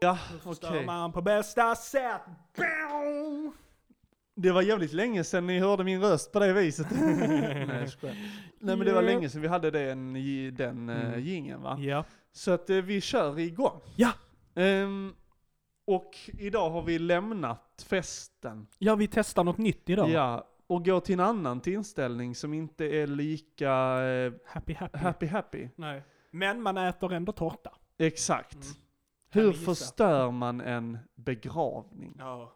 S1: Ja,
S2: Förstör
S1: okej.
S2: man på bästa sätt. Bow!
S1: Det var jävligt länge sedan ni hörde min röst på det viset. Nej, jag skojar. Nej men det var
S2: Ja.
S1: länge sedan vi hade den, i- den
S2: Mm.
S1: mm. gingen va?
S2: Ja.
S1: Så att eh, vi kör igång.
S2: Ja.
S1: Ehm, och idag har vi lämnat festen.
S2: ja, vi testar något nytt idag.
S1: Ja. Och går till en annan tillställning som inte är lika eh,
S2: Happy, happy.
S1: happy happy.
S2: Nej. Men man äter ändå tårta.
S1: Exakt.
S2: Mm. Kan
S1: Hur
S2: vi gissa?
S1: förstör man en begravning?
S2: Ja.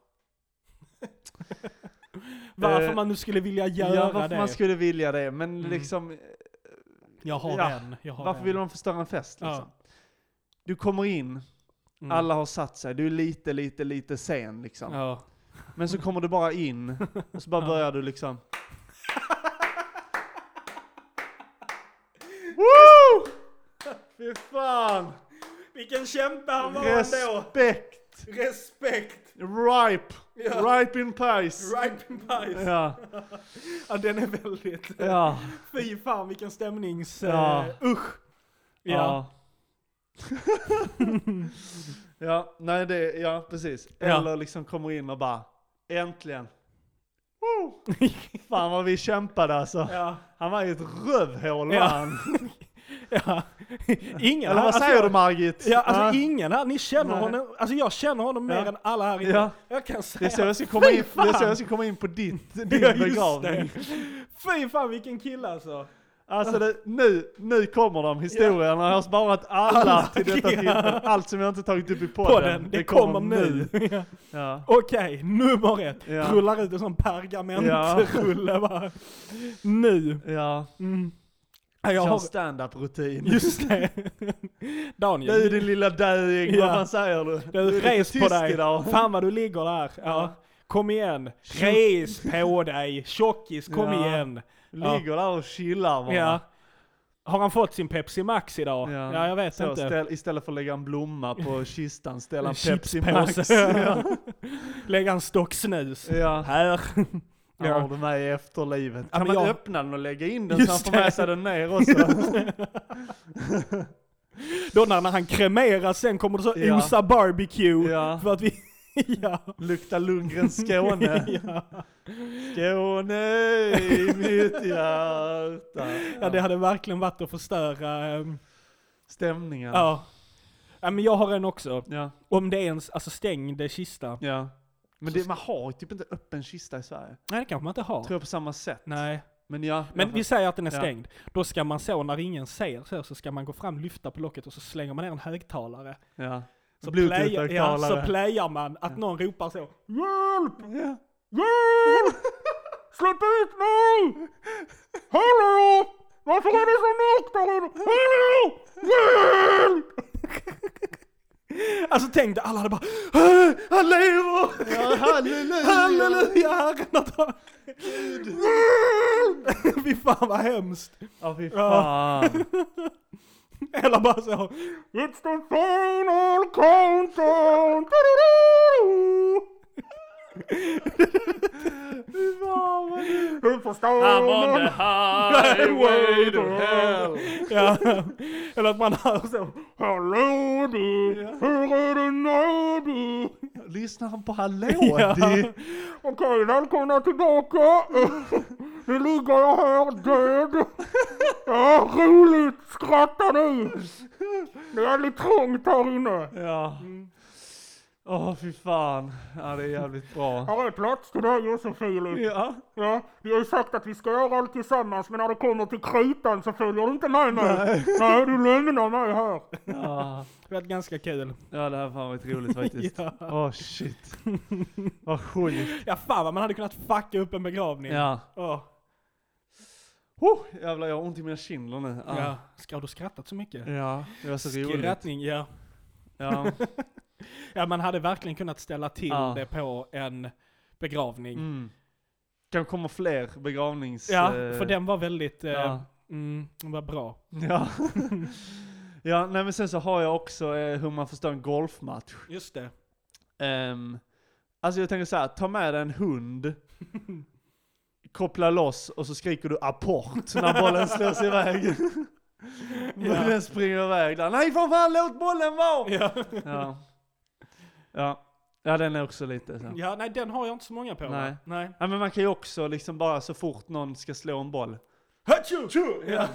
S2: varför
S1: Eh,
S2: man nu skulle vilja göra
S1: ja, varför
S2: det.
S1: man skulle vilja det, men
S2: Mm.
S1: liksom, eh,
S2: Jag har
S1: Ja,
S2: en. Jag har
S1: varför
S2: en.
S1: vill man förstöra en fest liksom? Du kommer in,
S2: Mm.
S1: alla har satt sig, du är lite, lite, lite sen liksom.
S2: Ja.
S1: Men så kommer du bara in, och så bara börjar du liksom... Woo! Fy fan!
S2: Vilken kämpe han var ändå!
S1: Respekt!
S2: Respekt!
S1: Ripe!
S2: Ja.
S1: Ripe in pies!
S2: Ripe and pies.
S1: Ja,
S2: Ja, den är väldigt...
S1: ja,
S2: Fy fan vilken stämnings...
S1: Ja.
S2: eh, usch! Ja.
S1: ja. ja, nej det, ja precis.
S2: Ja.
S1: Eller liksom kommer in och bara, äntligen! Woo! Fan vad vi kämpade alltså.
S2: Ja.
S1: Han var ju ett rövhål var
S2: Ja.
S1: han.
S2: ja. Ingen
S1: Eller vad
S2: alltså,
S1: säger du Margit?
S2: Ja, alltså
S1: Ja.
S2: ingen här, ni känner
S1: Nej.
S2: honom, alltså jag känner honom
S1: Ja.
S2: mer än alla här inne.
S1: Ja.
S2: Jag kan
S1: Det är så
S2: säga.
S1: jag ska komma in, det
S2: fan!
S1: är så jag ska komma in på ditt, din
S2: Ja, just
S1: begravning.
S2: Fy fan vilken kille alltså.
S1: Alltså det, nu, nu kommer de historierna. Jag har sparat alla till detta
S2: Ja.
S1: tillfälle. Allt som jag inte tagit upp i podden.
S2: Podden, det, kommer nu. Ja.
S1: Ja.
S2: Okej, nummer ett.
S1: Ja.
S2: Rullar ut en sån pergamentrulle bara. Nu.
S1: Ja,
S2: Mm. Ja, Jag
S1: kör
S2: har,
S1: standup-rutin.
S2: just det. Daniel.
S1: Du din lilla döing,
S2: Ja.
S1: vad fan säger du?
S2: Du, res på
S1: tyst
S2: dig.
S1: idag.
S2: Fan vad du ligger där. Ja.
S1: Ja.
S2: Kom igen. Res på dig. Tjockis, kom
S1: Ja.
S2: igen. Ja.
S1: Ligger där och chillar bara.
S2: Ja. Har han fått sin Pepsi Max idag? Ja,
S1: Ja.
S2: jag vet
S1: Så,
S2: inte.
S1: ställ, istället för att lägga en blomma på kistan, ställ en Pepsi
S2: Chipspåse.
S1: Max. Ja.
S2: Lägga en stock snus.
S1: Ja.
S2: Här.
S1: Ja. Har du med i efterlivet? Kan
S2: men
S1: man
S2: jag-
S1: öppna den och lägga in den
S2: Just
S1: så han får
S2: det.
S1: med sig den ner också?
S2: Då när när han kremeras sen kommer det så
S1: Ja.
S2: osa barbecue.
S1: ja.
S2: För att vi... ja.
S1: Lukta Lundgrens Skåne.
S2: ja.
S1: Skåne i mitt hjärta.
S2: ja, det hade verkligen varit att förstöra... ehm,
S1: Stämningen. Ja.
S2: ja. ja. men jag har en också.
S1: Ja.
S2: Om det är en alltså, stängd kista.
S1: Men det, man har ju typ inte öppen kista i Sverige.
S2: Nej, det kanske man inte har.
S1: Tror jag på samma sätt.
S2: Nej.
S1: Men ja.
S2: Men
S1: jag-
S2: vi säger att den är
S1: Ja.
S2: stängd. Då ska man så, när ingen ser så, så ska man gå fram, lyfta på locket och så slänger man ner en högtalare.
S1: Ja.
S2: Så, play,
S1: Bluetooth-högtalare.
S2: ja, så playar man att någon ropar så. Hjälp!
S1: Ja.
S2: Hjälp! Släpp ut mig! Hallå! Varför är det så mörkt där inne? Hallå! Hjälp! Alltså tänk dig, alla hade bara "Äh, Han lever!
S1: Ja, halleluja!
S2: Halleluja, Herren har tagit... Hjälp! Fy fan vad hemskt.
S1: Ja, fy
S2: Ja.
S1: fan.
S2: Eller bara så. It's the final countdown! Du-du-du-du-du."
S1: Fy fan vad du...
S2: Du förstår
S1: I'm on
S2: någon-
S1: the highway to hell.
S2: Ja. Eller att man hör så. Alltså, Hallå du,
S1: Ja.
S2: hur är det nu du?
S1: Lyssnar han på Hallå? Det-
S2: Okej, välkomna tillbaka. Nu ligger jag här död. Ja, roligt, skratta nu. Det är lite trångt här inne.
S1: Ja. Åh fy fan. Ja det är jävligt bra.
S2: Här är plats till dig också Filip.
S1: Ja.
S2: Ja, vi har ju sagt att vi ska göra allt tillsammans men när det kommer till kritan så följer du inte med mig. Nej, du lämnar mig här.
S1: Ja,
S2: Det var ganska kul.
S1: ja det här har fan varit roligt faktiskt.
S2: Ja.
S1: Åh shit. Vad sjukt.
S2: ja, fan vad man hade kunnat fucka upp en begravning.
S1: Ja.
S2: Åh.
S1: Oh, jävlar jag har ont i mina kinder nu.
S2: ja. Ska du skrattat så mycket?
S1: ja. Det var Mm. så roligt.
S2: Skrattning, ja.
S1: Ja.
S2: Ja, man hade verkligen kunnat ställa till
S1: Ja.
S2: det på en begravning.
S1: Mm. Kan komma fler begravnings...
S2: Ja,
S1: eh,
S2: för den var väldigt, eh,
S1: Ja.
S2: mm, den var bra.
S1: Ja. ja, nej men sen så har jag också eh, hur man förstår en golfmatch.
S2: Just det.
S1: Ehm, alltså jag tänker så här, ta med dig en hund, koppla loss och så skriker du apport när bollen slås iväg. Bollen
S2: Ja.
S1: springer iväg där. Nej för fan låt bollen vara!
S2: Ja.
S1: Ja. ja. Ja den är också lite så.
S2: ja, nej den har jag inte så många på. va?
S1: Nej.
S2: nej.
S1: Ja men man kan ju också liksom bara så fort någon ska slå en boll.
S2: Hachu! Ja.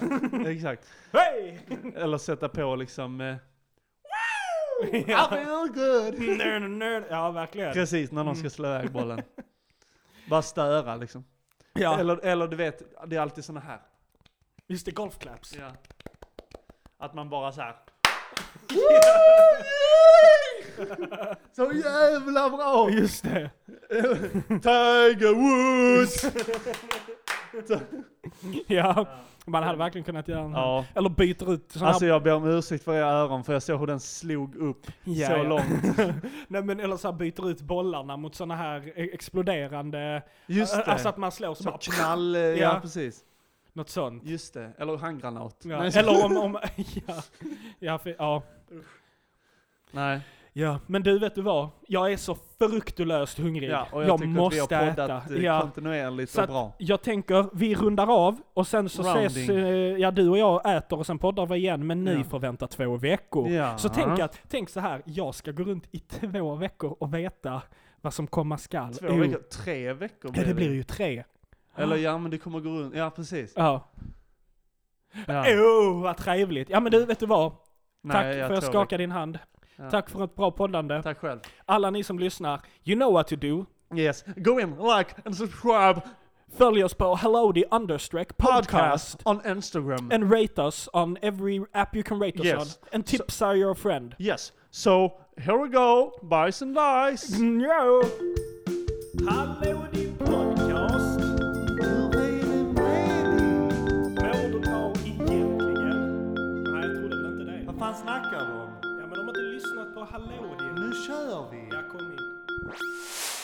S1: Exakt.
S2: Hej!
S1: Eller sätta på liksom... Eh, I
S2: Ja.
S1: feel good!
S2: Nerd, nerd. ja, verkligen.
S1: Precis, när någon
S2: Mm.
S1: ska slå iväg bollen. Bara störa liksom.
S2: Ja.
S1: Eller, eller du vet, det är alltid såna här.
S2: Just det, golfclaps.
S1: Ja. Att man bara så här. Så jävla bra!
S2: Just det.
S1: Tiger Woods!
S2: Ja, man hade verkligen kunnat göra en
S1: Ja.
S2: Eller byter ut sådana
S1: Alltså jag ber om ursäkt för era öron för jag såg hur den slog upp
S2: Ja,
S1: så
S2: ja.
S1: långt.
S2: Nej men eller så här byter ut bollarna mot såna här eh, exploderande...
S1: Just det.
S2: Alltså att man slår så,
S1: så
S2: bara...
S1: knall, ja.
S2: Ja.
S1: precis.
S2: Något sånt.
S1: Just det, eller handgranat.
S2: Ja.
S1: Nej, så-
S2: Eller om, om ja. Ja, för, ja.
S1: Nej.
S2: ja, men du vet du vad? Jag är så fruktlöst hungrig.
S1: Ja, och jag, tycker att vi har poddat eh,
S2: Ja.
S1: kontinuerligt
S2: Så
S1: och
S2: att-
S1: bra.
S2: Jag tänker, vi rundar av och sen så ses,
S1: Rounding.
S2: eh, ja du och jag äter och sen poddar vi igen, men ni
S1: Ja.
S2: får vänta två veckor.
S1: Ja.
S2: Så tänk att, tänk så här, jag ska gå runt i två veckor och veta vad som komma skall.
S1: Två
S2: Jo.
S1: veckor, tre veckor
S2: Ja, det blir ju tre.
S1: Eller ja, men det kommer gå runt. Ja, Oh, precis.
S2: Ja.
S1: Ja.
S2: Åh, Oh, vad trevligt! Ja men du, vet du vad? Tack
S1: Nej,
S2: för att jag
S1: tror-
S2: skakade din hand.
S1: Ja.
S2: Tack för ett bra poddande.
S1: Tack själv.
S2: Alla ni som lyssnar, you know what to do.
S1: Yes. Go in, like and subscribe
S2: Följ oss på hello the understreck podcast.
S1: podcast on Instagram.
S2: And rate us on every app you can rate us
S1: Yes.
S2: on. And tips are your friend.
S1: yes. So here we go. Buys and dice.
S2: No.
S3: Hallå din podcast! Hur är det med dig?
S2: Mår du bra egentligen? Nej, jag trodde väl inte det.
S3: Vad fan snackar du om?
S2: Ja, men de har inte lyssnat på Hallå din.
S3: Nu kör vi!
S2: Jag kom in.